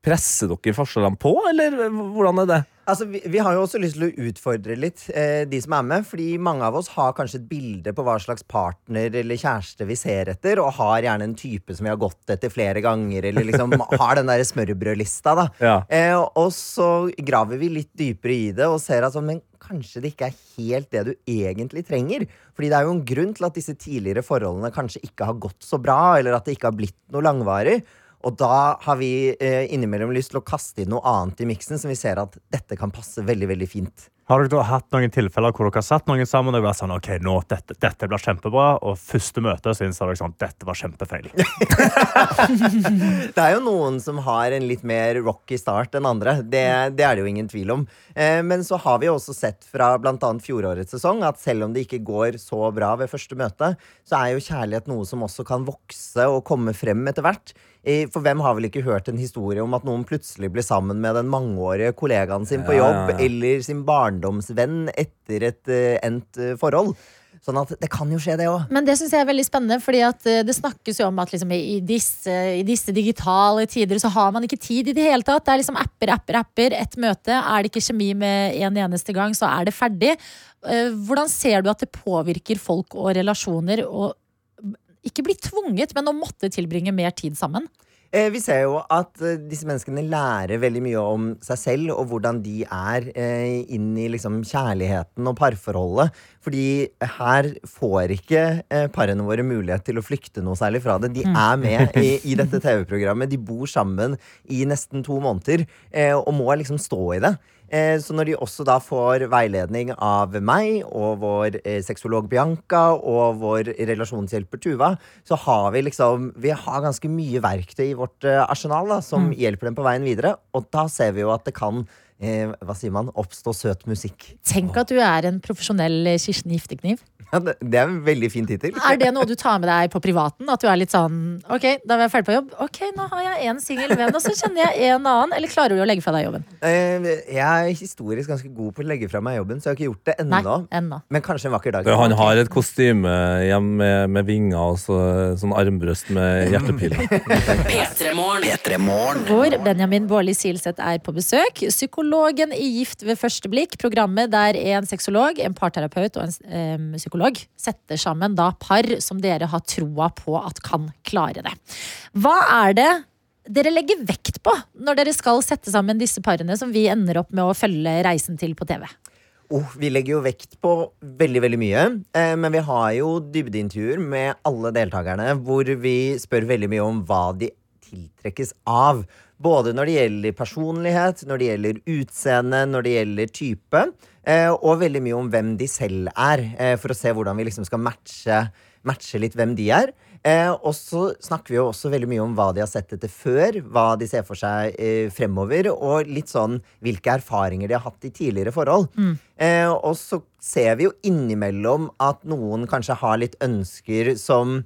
[SPEAKER 4] presser dere forskjellene på, eller hvordan er det?
[SPEAKER 11] Altså, vi, vi har jo også lyst til å utfordre litt eh, de som er med, fordi mange av oss har kanskje et bilde på hva slags partner eller kjæreste vi ser etter, og har gjerne en type som vi har gått etter flere ganger, eller liksom har den der smørbrødlista, da.
[SPEAKER 4] Ja.
[SPEAKER 11] Eh, og så graver vi litt dypere i det og ser at sånn, men kanskje det ikke er helt det du egentlig trenger. Fordi det er jo en grunn til at disse tidligere forholdene kanskje ikke har gått så bra, eller at det ikke har blitt noe langvarig. Og da har vi eh, innimellom lyst til å kaste inn noe annet i miksen som vi ser at dette kan passe veldig, veldig fint.
[SPEAKER 5] Har dere hatt noen tilfeller hvor dere har satt noen sammen og vært sånn, ok, nå, dette, dette blir kjempebra, og første møte så innser dere sånn, dette var kjempefeil.
[SPEAKER 11] Det er jo noen som har en litt mer rocky start enn andre. Det, det er det jo ingen tvil om. Eh, men så har vi jo også sett fra bl.a. fjorårets sesong at selv om det ikke går så bra ved første møte, så er jo kjærlighet noe som også kan vokse og komme frem etter hvert. Eh, For hvem har vel ikke hørt en historie om at noen plutselig ble sammen med den mangeårige kollegaen sin på
[SPEAKER 9] Ja,
[SPEAKER 11] jobb
[SPEAKER 9] ja, ja.
[SPEAKER 11] eller sin barndomsvenn etter et eh, endt eh, forhold? Sånn at det kan jo skje, det òg.
[SPEAKER 3] Men det syns jeg er veldig spennende, fordi at eh, det snakkes jo om at liksom, i, disse, i disse digitale tider så har man ikke tid i det hele tatt. Det er liksom apper, apper, apper. Ett møte. Er det ikke kjemi med en eneste gang, så er det ferdig. Eh, Hvordan ser du at det påvirker folk og relasjoner å ikke bli tvunget, men å måtte tilbringe mer tid sammen?
[SPEAKER 11] Eh, Vi ser jo at eh, disse menneskene lærer veldig mye om seg selv og hvordan de er eh, inn i liksom kjærligheten og parforholdet. Fordi her får ikke eh, parene våre mulighet til å flykte noe særlig fra det. De
[SPEAKER 12] Mm.
[SPEAKER 11] er med i, i dette TV-programmet. De bor sammen i nesten to måneder eh, og må liksom stå i det. Eh, Så når de også da får veiledning av meg og vår eh, sexolog Bianca og vår relasjonshjelper Tuva, så har vi liksom Vi har ganske mye verktøy i vårt eh, arsenal da, som hjelper dem på veien videre. Og da ser vi jo at det kan eh, hva sier man, oppstå søt musikk.
[SPEAKER 3] Tenk at du er en profesjonell eh, Kirsten Giftekniv.
[SPEAKER 11] Ja, det, det er en veldig fin tittel.
[SPEAKER 3] Er det noe du tar med deg på privaten? At du er litt sånn OK, da var jeg ferdig på jobb. OK, nå har jeg én singel venn, og så kjenner jeg en annen. Eller klarer du å legge fra deg jobben?
[SPEAKER 11] Eh, Jeg er historisk ganske god på å legge fra meg jobben, så jeg har ikke gjort det ennå.
[SPEAKER 3] ennå.
[SPEAKER 11] Men kanskje en vakker dag.
[SPEAKER 4] Du, han har et kostyme hjemme med, med vinger og så, sånn armbrøst med hjertepiler.
[SPEAKER 1] P3morgen.
[SPEAKER 3] Hvor Benjamin Baarli Silseth er på besøk. Psykologen i Gift ved første blikk. Programmet der en sexolog, en parterapeut og en em, psykolog setter sammen da par som dere har troa på at kan klare det. Hva er det dere legger vekt på når dere skal sette sammen disse parene som vi ender opp med å følge reisen til på TV?
[SPEAKER 11] Oh, vi legger jo vekt på veldig veldig mye, eh, men vi har jo dybdeintervjuer med alle deltakerne hvor vi spør veldig mye om hva de tiltrekkes av. Både når det gjelder personlighet, når det gjelder utseende, når det gjelder type. Eh, og veldig mye om hvem de selv er, eh, for å se hvordan vi liksom skal matche, matche litt hvem de er. Eh, og så snakker vi jo også veldig mye om hva de har sett etter før, hva de ser for seg eh, fremover, og litt sånn hvilke erfaringer de har hatt i tidligere forhold.
[SPEAKER 12] Mm.
[SPEAKER 11] Eh, og så ser vi jo innimellom at noen kanskje har litt ønsker som,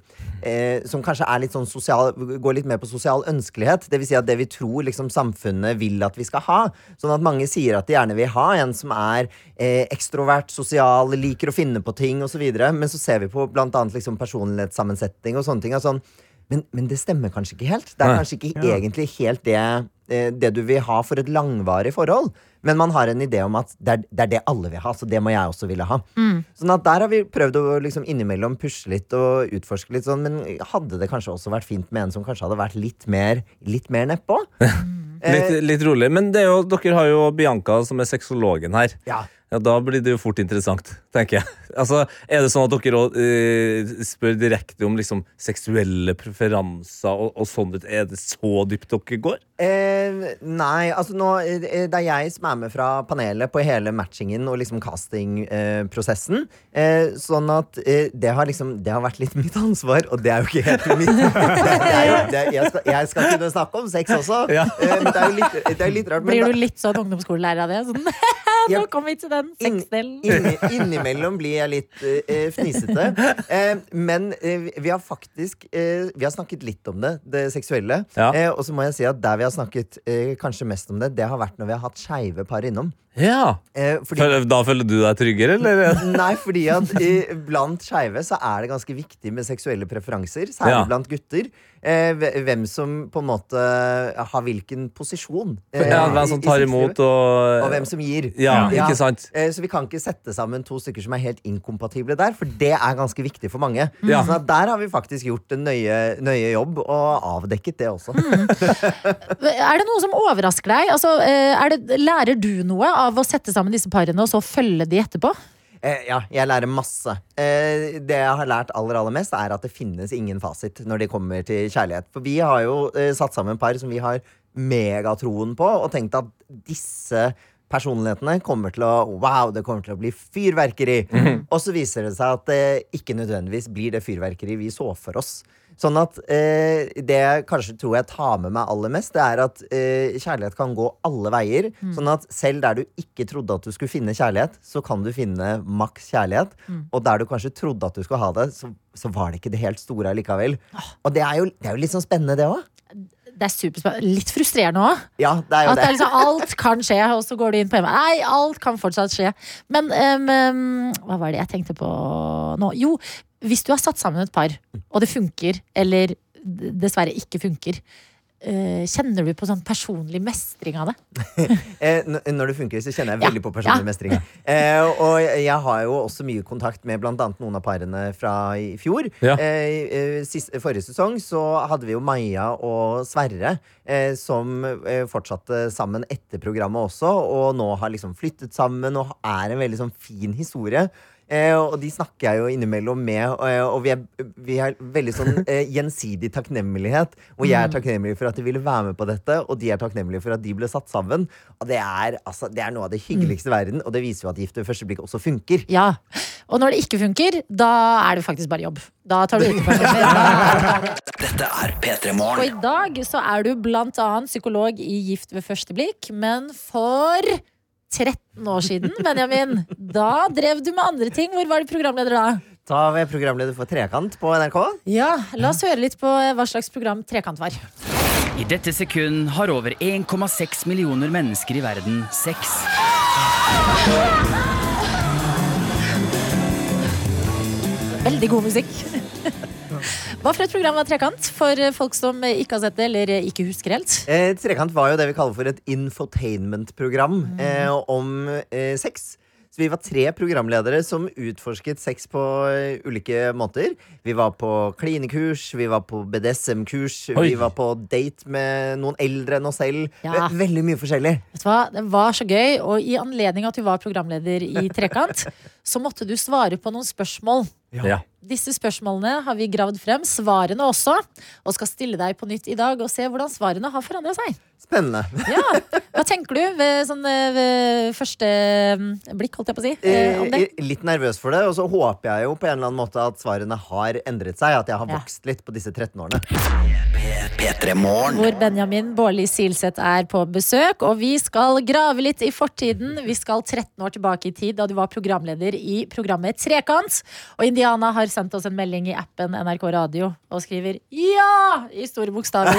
[SPEAKER 11] eh, som kanskje er litt sånn sosial, går litt mer på sosial ønskelighet. Det vil si at det vi tror liksom, samfunnet vil at vi skal ha. Sånn at mange sier at de gjerne vil ha en som er eh, ekstrovert, sosial, liker å finne på ting osv. Men så ser vi på bl.a. Liksom, personlighetssammensetning og sånne ting. Og sånn, men, men det stemmer kanskje ikke helt. Det er
[SPEAKER 12] Nei.
[SPEAKER 11] kanskje ikke
[SPEAKER 12] Ja.
[SPEAKER 11] egentlig helt det, eh, det du vil ha for et langvarig forhold. Men man har en idé om at det er det, er det alle vil ha, så det må jeg også ville ha. Sånn at der har vi prøvd å liksom innimellom pushe litt og utforske litt sånn, men hadde det kanskje også vært fint med en som kanskje hadde vært litt mer, litt mer nedpå?
[SPEAKER 4] Litt,
[SPEAKER 11] Eh,
[SPEAKER 4] litt rolig. Men det er jo, dere har jo Bianca som er sexologen her.
[SPEAKER 11] Ja.
[SPEAKER 4] Da blir det jo fort interessant, tenker jeg. Altså, Er det sånn at dere også, eh, spør direkte om liksom, seksuelle preferanser og, og sånt? Er det så dypt dere går?
[SPEAKER 11] Eh, nei, altså nå eh, Det er jeg som er med fra panelet på hele matchingen og liksom castingprosessen. Eh, sånn at eh, det har liksom Det har vært litt mitt ansvar, og det er jo ikke helt mitt. Det er, det er, jo- det er, jeg, skal, jeg skal kunne snakke om sex også, eh, men det er jo litt, det er jo litt rart. men
[SPEAKER 3] Blir
[SPEAKER 11] da-
[SPEAKER 3] du litt sånn ungdomsskolelærer av det? Sånn, nå kom vi til den sexdelen.
[SPEAKER 11] Inni, innimellom blir jeg litt eh, fnisete. Eh, men eh, vi har faktisk eh, Vi har snakket litt om det, det seksuelle.
[SPEAKER 4] Ja.
[SPEAKER 11] Eh, og så må jeg si at der vi har snakket eh, kanskje mest om det, det har vært når vi har hatt skeive par innom.
[SPEAKER 4] Ja.
[SPEAKER 11] Eh, fordi,
[SPEAKER 4] Føl- Da føler du deg tryggere, eller?
[SPEAKER 11] nei, fordi at eh, blant skeive så er det ganske viktig med seksuelle preferanser. Særlig
[SPEAKER 4] Ja.
[SPEAKER 11] blant gutter. Eh, hve- hvem som på en måte har hvilken posisjon. eh,
[SPEAKER 4] Ja, hvem som
[SPEAKER 11] i- i
[SPEAKER 4] tar
[SPEAKER 11] sexlivet.
[SPEAKER 4] imot og
[SPEAKER 11] Og hvem som gir.
[SPEAKER 4] Ja, ikke sant?
[SPEAKER 11] Eh, Så vi kan ikke sette sammen to stykker som er helt inkompatible der, for det er ganske viktig for mange.
[SPEAKER 4] Ja.
[SPEAKER 11] Så der har vi faktisk gjort en nøye, nøye jobb og avdekket det også.
[SPEAKER 3] Er det noe som overrasker deg? Altså, eh, er det, lærer du noe av å sette sammen disse parene og så følge de etterpå?
[SPEAKER 11] Eh, ja, jeg lærer masse. Eh, det jeg har lært aller, aller mest, er at det finnes ingen fasit når det kommer til kjærlighet. For vi har jo eh, satt sammen par som vi har megatroen på, og tenkt at disse
[SPEAKER 5] personlighetene kommer til å Wow, det kommer til å bli fyrverkeri! Og så viser det seg at det ikke nødvendigvis blir det fyrverkeri vi så for oss. Sånn at eh, det jeg kanskje tror jeg tar med meg aller mest, det er at eh, kjærlighet kan gå alle veier. Sånn at selv der du ikke trodde at du skulle finne kjærlighet, så kan du finne maks kjærlighet. Og der du kanskje trodde at du skulle ha det, så, så var det ikke det helt store allikevel. Og det er jo, det er jo litt sånn spennende, det òg.
[SPEAKER 3] Det er superspennende. Litt frustrerende òg.
[SPEAKER 5] Ja, det er jo
[SPEAKER 3] At det
[SPEAKER 5] det.
[SPEAKER 3] er liksom, alt kan skje, og så går du inn på hjemme. Nei, alt kan fortsatt skje. Men em, em, hva var det jeg tenkte på nå? Jo, hvis du har satt sammen et par, og det funker, eller d- dessverre ikke funker, eh, kjenner du på sånn personlig mestring av det?
[SPEAKER 5] Eh, n- når det funker, så kjenner jeg
[SPEAKER 3] Ja,
[SPEAKER 5] veldig på personlig
[SPEAKER 3] ja.
[SPEAKER 5] mestring. Eh, og jeg jeg har jo også mye kontakt med bl.a. noen av parene fra i fjor.
[SPEAKER 4] Ja.
[SPEAKER 5] Eh, eh, sist, forrige sesong så hadde vi jo Maja og Sverre, eh, som eh, fortsatte sammen etter programmet også, og nå har liksom flyttet sammen og er en veldig sånn fin historie. Eh, og de snakker jeg jo innimellom med, og, og vi, er, vi er veldig sånn eh, gjensidig takknemlighet. Og
[SPEAKER 13] Mm.
[SPEAKER 5] jeg er takknemlig for at de ville være med på dette, og de er takknemlige for at de ble satt sammen. Og det er, altså, det er noe av det
[SPEAKER 13] Mm.
[SPEAKER 5] hyggeligste i verden, og det viser jo at gift ved første blikk også funker.
[SPEAKER 3] Ja. Og når det ikke funker, da er det faktisk bare jobb. Da tar du ut personlig. Da-
[SPEAKER 1] Dette er P3
[SPEAKER 3] Og
[SPEAKER 1] Morgen.
[SPEAKER 3] i dag så er du blant annet psykolog i Gift ved første blikk, men for 13 år siden, Benjamin, da drev du med andre ting. Hvor var du programleder da?
[SPEAKER 5] Da var jeg programleder for Trekant på NRK.
[SPEAKER 3] Ja, La oss høre litt på eh, hva slags program Trekant var.
[SPEAKER 13] I dette sekund har over 1,6 millioner mennesker i verden sex.
[SPEAKER 3] Veldig god musikk. Hva for et program var Trekant? For eh, folk som ikke har sett det, eller ikke husker helt.
[SPEAKER 5] Eh, Trekant var jo det vi kaller for et infotainment-program
[SPEAKER 3] Mm.
[SPEAKER 5] eh, om eh, sex. Så vi var tre programledere som utforsket sex på eh, ulike måter. Vi var på klinekurs, vi var på BDSM-kurs,
[SPEAKER 3] Oi.
[SPEAKER 5] vi var på date med noen eldre enn oss selv.
[SPEAKER 3] Ja.
[SPEAKER 5] Eh, Veldig mye forskjellig.
[SPEAKER 3] Vet du hva? Det var så gøy, og i anledning at du var programleder i Trekant, så måtte du svare på noen spørsmål.
[SPEAKER 4] Ja.
[SPEAKER 3] Disse spørsmålene har vi gravd frem, svarene også, og skal stille deg på nytt i dag og se hvordan svarene har forandra seg.
[SPEAKER 5] Spennende.
[SPEAKER 3] Hva tenker du ved, sånn, eh, ved første mm, blikk, holdt jeg på å si, eh, om det?
[SPEAKER 5] Eh, Litt nervøs for det, og så håper jeg jo på en eller annen måte at svarene har endret seg. At jeg har vokst litt på disse 13 årene.
[SPEAKER 1] P3 Morgen.
[SPEAKER 3] Hvor Benjamin Bårli Silseth er på besøk, og vi skal grave litt i fortiden. Vi skal 13 år tilbake i tid, da du var programleder i programmet Trekant. Og Indiana har sendt oss en melding i appen NRK Radio og skriver ja i store bokstaver.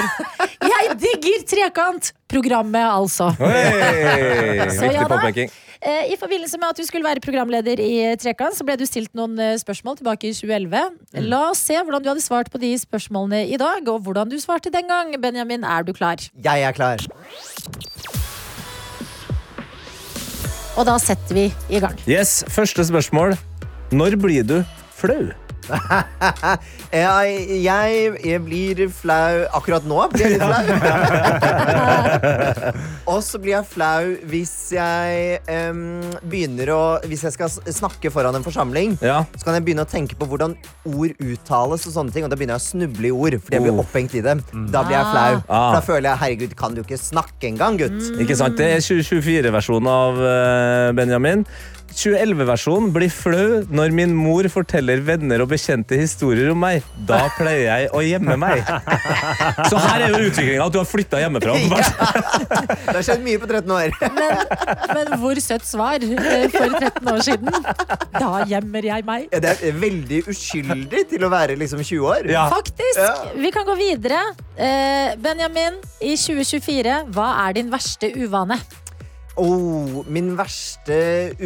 [SPEAKER 3] Jeg digger Trekant! Programmet, altså.
[SPEAKER 4] Hey,
[SPEAKER 3] Så,
[SPEAKER 4] viktig
[SPEAKER 3] Jana?
[SPEAKER 4] påpeking.
[SPEAKER 3] Eh, I forbindelse med at du skulle være programleder i Trekant, så ble du stilt noen eh, spørsmål tilbake i 2011.
[SPEAKER 5] Mm.
[SPEAKER 3] La oss se hvordan du hadde svart på de spørsmålene i dag, og hvordan du svarte den gang. Benjamin, er du klar?
[SPEAKER 5] Jeg er klar.
[SPEAKER 3] Og da setter vi i gang.
[SPEAKER 4] Yes, første spørsmål. Når blir du flau?
[SPEAKER 5] jeg, jeg, jeg blir flau Akkurat nå blir jeg litt flau. Og så blir jeg flau hvis jeg em, begynner å Hvis jeg skal s- snakke foran en forsamling,
[SPEAKER 4] Ja.
[SPEAKER 5] så kan jeg begynne å tenke på hvordan ord uttales, og sånne ting Og da begynner jeg å snuble i ord fordi jeg blir
[SPEAKER 4] Oh.
[SPEAKER 5] opphengt i dem. Da blir jeg flau.
[SPEAKER 4] Ah. Mm.
[SPEAKER 5] For da føler jeg herregud, kan du ikke snakke engang, gutt?
[SPEAKER 4] Ikke sant? Det er 2024-versjonen av eh, Benjamin. 2011-versjonen blir flau når min mor forteller venner og bekjente historier om meg. Da pleier jeg å gjemme meg. Så her er jo utviklinga at du har flytta hjemmefra.
[SPEAKER 5] Det har skjedd mye på 13 år.
[SPEAKER 3] Men, men hvor søtt svar eh, for 13 år siden. Da gjemmer jeg meg.
[SPEAKER 5] Det er veldig uskyldig til å være liksom 20 år.
[SPEAKER 4] Ja.
[SPEAKER 3] Faktisk.
[SPEAKER 5] Ja.
[SPEAKER 3] Vi kan gå videre. Eh, Benjamin, i 2024, hva er din verste uvane?
[SPEAKER 5] Oh, min verste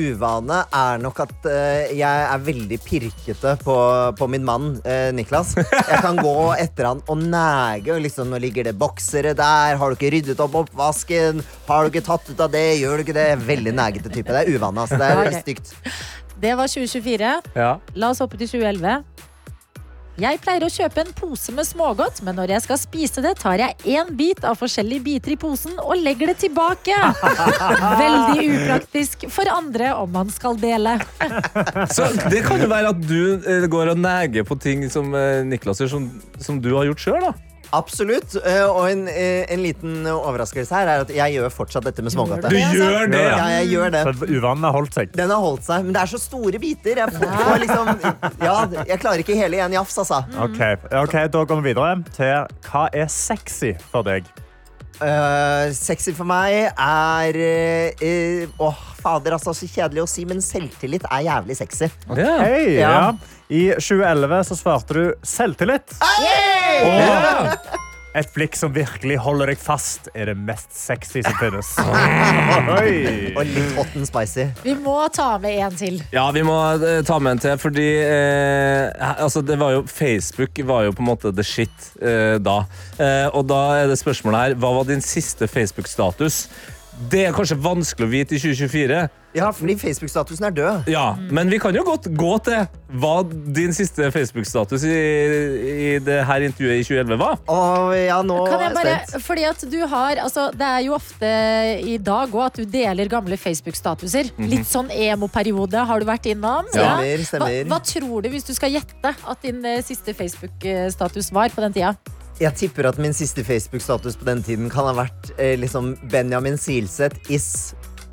[SPEAKER 5] uvane er nok at eh, jeg er veldig pirkete på, på min mann, eh, Niklas. Jeg kan gå etter han og næge. Og liksom, nå ligger det boksere der. Har du ikke ryddet opp oppvasken? Har du ikke tatt ut av det? Gjør du ikke det? Veldig nægete type. Det er uvane. Altså. Det er
[SPEAKER 3] Ok.
[SPEAKER 5] stygt.
[SPEAKER 3] Det var 2024.
[SPEAKER 4] Ja.
[SPEAKER 3] La oss hoppe til 2011. Jeg pleier å kjøpe en pose med smågodt, men når jeg skal spise det, tar jeg én bit av forskjellige biter i posen og legger det tilbake. Veldig upraktisk for andre om man skal dele.
[SPEAKER 4] Så det kan jo være at du eh, går og neger på ting som eh, Niklas gjør, som, som du har gjort sjøl.
[SPEAKER 11] Absolutt. eh, Og en, eh, en liten overraskelse her er at jeg gjør altså? fortsatt dette med smågodte.
[SPEAKER 5] Du gjør det,
[SPEAKER 11] Ja, jeg gjør det.
[SPEAKER 5] Så uvanen har holdt seg.
[SPEAKER 11] Den har holdt seg, men det er så store biter. Jeg, får, får liksom, ja, jeg klarer ikke hele i en jafs, altså.
[SPEAKER 5] Ok, ok, Da går vi videre til hva er sexy for deg.
[SPEAKER 11] Eh, sexy for meg er eh, eh, Åh, fader, altså. Så kjedelig å si, men selvtillit er jævlig sexy.
[SPEAKER 5] Hei,
[SPEAKER 11] Ja.
[SPEAKER 5] ja. I 2011 så svarte du selvtillit. Og et blikk som virkelig holder deg fast, er det mest sexy som finnes. Oi.
[SPEAKER 11] Og litt hot and spicy.
[SPEAKER 3] Vi må ta med en til.
[SPEAKER 4] Ja, vi må eh, ta med en til, fordi eh, altså det var jo, Facebook var jo på en måte the shit eh, da. Eh, og da er det spørsmålet her Hva var din siste Facebook-status? Det er kanskje vanskelig å vite i 2024.
[SPEAKER 11] Ja, fordi Facebook-statusen er død.
[SPEAKER 4] Ja, Men vi kan jo godt gå til hva din siste Facebook-status i, i det her intervjuet i 2011 var.
[SPEAKER 11] Og ja, nå
[SPEAKER 3] Kan jeg
[SPEAKER 11] er jeg
[SPEAKER 3] bare,
[SPEAKER 11] spent.
[SPEAKER 3] fordi at du har, altså, det er jo ofte i dag også at du deler gamle Facebook-statuser.
[SPEAKER 11] Mhm.
[SPEAKER 3] Litt sånn emo-periode har du vært innom.
[SPEAKER 11] Ja. Stemmer,
[SPEAKER 3] Hva,
[SPEAKER 11] stemmer.
[SPEAKER 3] hva tror du, hvis du skal gjette, at din eh, siste Facebook-status var på den tida?
[SPEAKER 11] Jeg tipper at min siste Facebook-status på den tiden kan ha vært eh, liksom Benjamin Silseth is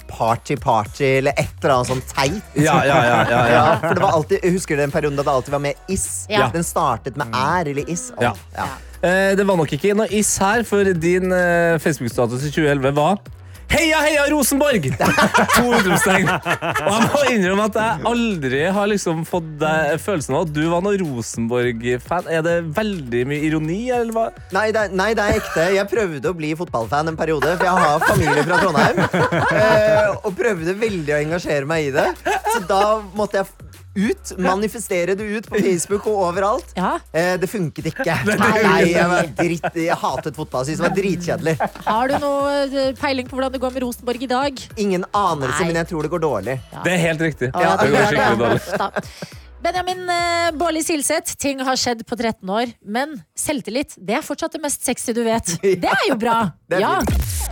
[SPEAKER 11] party party eller et eller annet sånn teit.
[SPEAKER 4] Ja, ja, ja, ja, ja.
[SPEAKER 11] for det var alltid, jeg husker den perioden da det alltid var med is.
[SPEAKER 4] Ja.
[SPEAKER 11] Den startet
[SPEAKER 5] Mm.
[SPEAKER 11] med er eller is. Åh,
[SPEAKER 4] Ja. Eh, det var nok ikke noe is her, for din eh, Facebook-status i 2011 var Heia, heia Rosenborg! To utropstegn. Og jeg må innrømme at jeg aldri har liksom fått deg følelsen av at du var noen Rosenborg-fan. Er det veldig mye ironi, eller hva?
[SPEAKER 11] Nei, det, er- nei, det er ekte. Jeg prøvde å bli fotballfan en periode, for jeg har familie fra Trondheim. Eh, og prøvde veldig å engasjere meg i det. Så da måtte jeg ut. Manifestere det ut på Facebook og overalt. Eh, det funket ikke.
[SPEAKER 3] Nei, det
[SPEAKER 11] Nei,
[SPEAKER 3] funket
[SPEAKER 11] jeg, var
[SPEAKER 3] ikke.
[SPEAKER 11] dritt, jeg hatet fotball. Syntes det var dritkjedelig.
[SPEAKER 3] Har du noe eh, peiling på hvordan det går med Rosenborg i dag?
[SPEAKER 11] Ingen anelse, men jeg tror det går dårlig.
[SPEAKER 4] Det er helt riktig.
[SPEAKER 11] Ja,
[SPEAKER 4] det går skikkelig dårlig.
[SPEAKER 3] Benjamin eh, Bårli Silseth, ting har skjedd på 13 år, men selvtillit det er fortsatt det mest sexy du vet. Det er jo bra! Ja.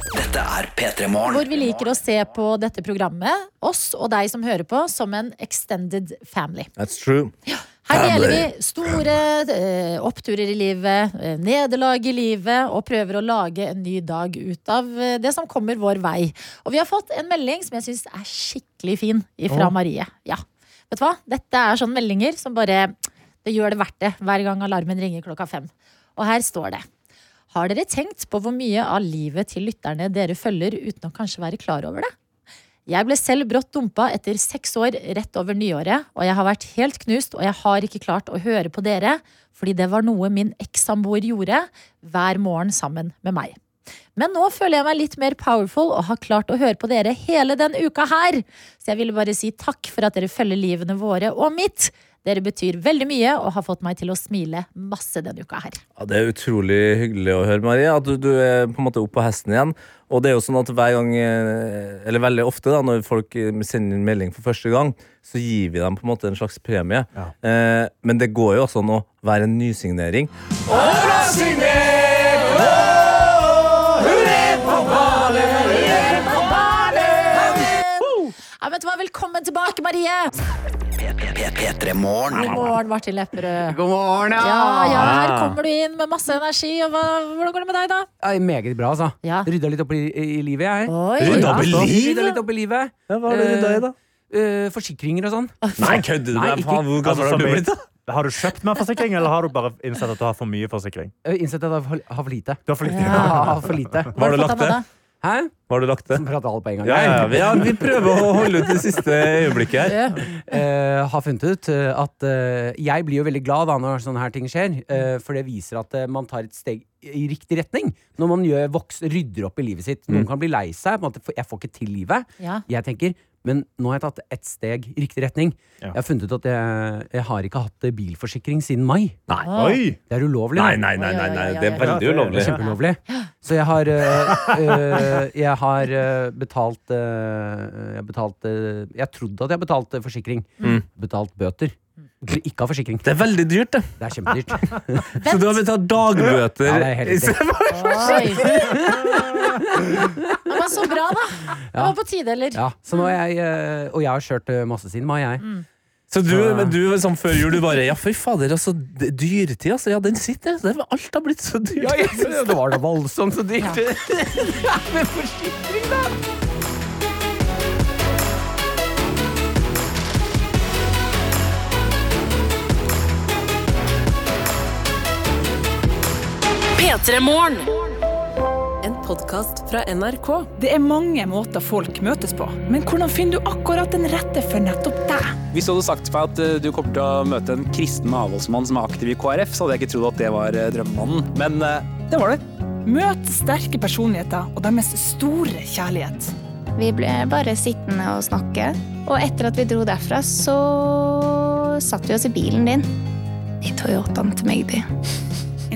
[SPEAKER 1] Dette er P3 Morgen.
[SPEAKER 3] Hvor vi liker å se på dette programmet, oss og deg som hører på, som en extended family.
[SPEAKER 4] That's true.
[SPEAKER 3] Her deler
[SPEAKER 4] Family.
[SPEAKER 3] vi store eh, oppturer i livet, eh, nederlag i livet, og prøver å lage en ny dag ut av eh, det som kommer vår vei. Og vi har fått en melding som jeg syns er skikkelig fin, fra
[SPEAKER 2] Å.
[SPEAKER 3] Marie. Ja. Vet du hva? Dette er sånne meldinger som bare Det gjør det verdt det hver gang alarmen ringer klokka fem. Og her står det. Har dere tenkt på hvor mye av livet til lytterne dere følger uten å kanskje være klar over det? Jeg ble selv brått dumpa etter seks år rett over nyåret, og jeg har vært helt knust, og jeg har ikke klart å høre på dere, fordi det var noe min ekssamboer gjorde hver morgen sammen med meg. Men nå føler jeg meg litt mer powerful og har klart å høre på dere hele den uka her. Så jeg ville bare si takk for at dere følger livene våre og mitt. Dere betyr veldig mye og har fått meg til å smile masse den uka her.
[SPEAKER 4] Ja, Det er utrolig hyggelig å høre, Marie, at du, du er på en måte opp på hesten igjen. Og det er jo sånn at hver gang, eh, eller veldig ofte da, når folk eh, sender inn melding for første gang, så gir vi dem på en måte en slags premie. Eh, men det går jo også an å være en nysignering.
[SPEAKER 3] Ja, vet du hva? Velkommen tilbake, Marie!
[SPEAKER 1] P3
[SPEAKER 3] God
[SPEAKER 1] Morgen.
[SPEAKER 3] morgen, Martin Lepperød.
[SPEAKER 13] God morgen, ja.
[SPEAKER 3] Ja, ja, her kommer du inn med masse energi. Og hva, hvordan går det med deg, da?
[SPEAKER 13] Ja, meget bra, altså. Rydda litt opp i, i livet, jeg.
[SPEAKER 4] Rydda opp i
[SPEAKER 13] Ja,
[SPEAKER 4] livet?
[SPEAKER 13] Rydda litt opp i livet.
[SPEAKER 4] hva har du rydda i, da?
[SPEAKER 13] Eh, forsikringer og sånn.
[SPEAKER 4] Nei, kødder du?
[SPEAKER 13] Nei,
[SPEAKER 4] Nei,
[SPEAKER 13] ikke-
[SPEAKER 4] faen, hvor gammel
[SPEAKER 13] Altså,
[SPEAKER 4] har du
[SPEAKER 13] som i-
[SPEAKER 4] blitt, da?
[SPEAKER 5] Har du kjøpt mer forsikring, eller har du bare innsett at du har for mye forsikring?
[SPEAKER 13] Eh, Innsett at jeg har for- har for lite.
[SPEAKER 5] Du har for lite.
[SPEAKER 13] Ja, jeg har for lite.
[SPEAKER 5] Hva har du lagt til?
[SPEAKER 13] Hæ?
[SPEAKER 4] Hva har du lagt til?
[SPEAKER 13] Prate alt på en gang.
[SPEAKER 4] Ja, ja, vi, ja, vi prøver å holde ut det siste øyeblikket her.
[SPEAKER 13] Eh, har funnet ut eh, at eh, jeg blir jo veldig glad da når sånne her ting skjer, eh, for det viser at eh, man tar et steg i riktig retning når man gjør, voks, rydder opp i livet sitt.
[SPEAKER 11] Mm.
[SPEAKER 13] Noen kan bli lei seg. På en måte, for jeg får ikke til livet.
[SPEAKER 3] Ja.
[SPEAKER 13] Jeg tenker, men nå har jeg tatt ett steg i riktig retning. Jeg har funnet ut at jeg, jeg har ikke hatt eh, bilforsikring siden mai.
[SPEAKER 4] Ah. Oi.
[SPEAKER 13] Det er ulovlig.
[SPEAKER 4] Nei, nei, nei, nei, nei, det er veldig ulovlig.
[SPEAKER 13] Det er kjempeulovlig. Så jeg har, eh, eh, jeg har eh, betalt eh, Jeg har betalt eh, Jeg trodde at jeg betalte forsikring.
[SPEAKER 4] Mm.
[SPEAKER 13] Betalt bøter. For ikke å ha forsikring.
[SPEAKER 4] Det er veldig dyrt, det.
[SPEAKER 13] Det er kjempedyrt.
[SPEAKER 4] Så du har betalt dagbøter?
[SPEAKER 13] Ja, det er helt riktig.
[SPEAKER 3] Oi. Ja, men så bra, da. Det
[SPEAKER 13] Ja.
[SPEAKER 3] var på tide, eller?
[SPEAKER 13] Ja, så nå er jeg, eh, og jeg har kjørt eh, masse siden mai, jeg.
[SPEAKER 4] Så du, men du liksom, før jul du bare Ja, fy fader, altså, d- dyretid, altså. Ja, den sitter. Det, alt har blitt så dyrt.
[SPEAKER 13] Ja, jeg synes det var da voldsomt så dyrt.
[SPEAKER 14] Med forsikring, da!
[SPEAKER 8] P3morgen. En podkast fra NRK. Det er mange måter folk møtes på, men hvordan finner du akkurat den rette for nettopp deg?
[SPEAKER 15] Hvis du hadde sagt til meg at eh, du kommer til å møte en kristen avholdsmann som er aktiv i KrF, så hadde jeg ikke trodd at det var eh, drømmemannen. Men eh,
[SPEAKER 8] Det var det. Møt sterke personligheter og deres store kjærlighet.
[SPEAKER 3] Vi ble bare sittende og snakke. Og etter at vi dro derfra, så satt vi oss i bilen din. I Toyotaen til meg, de.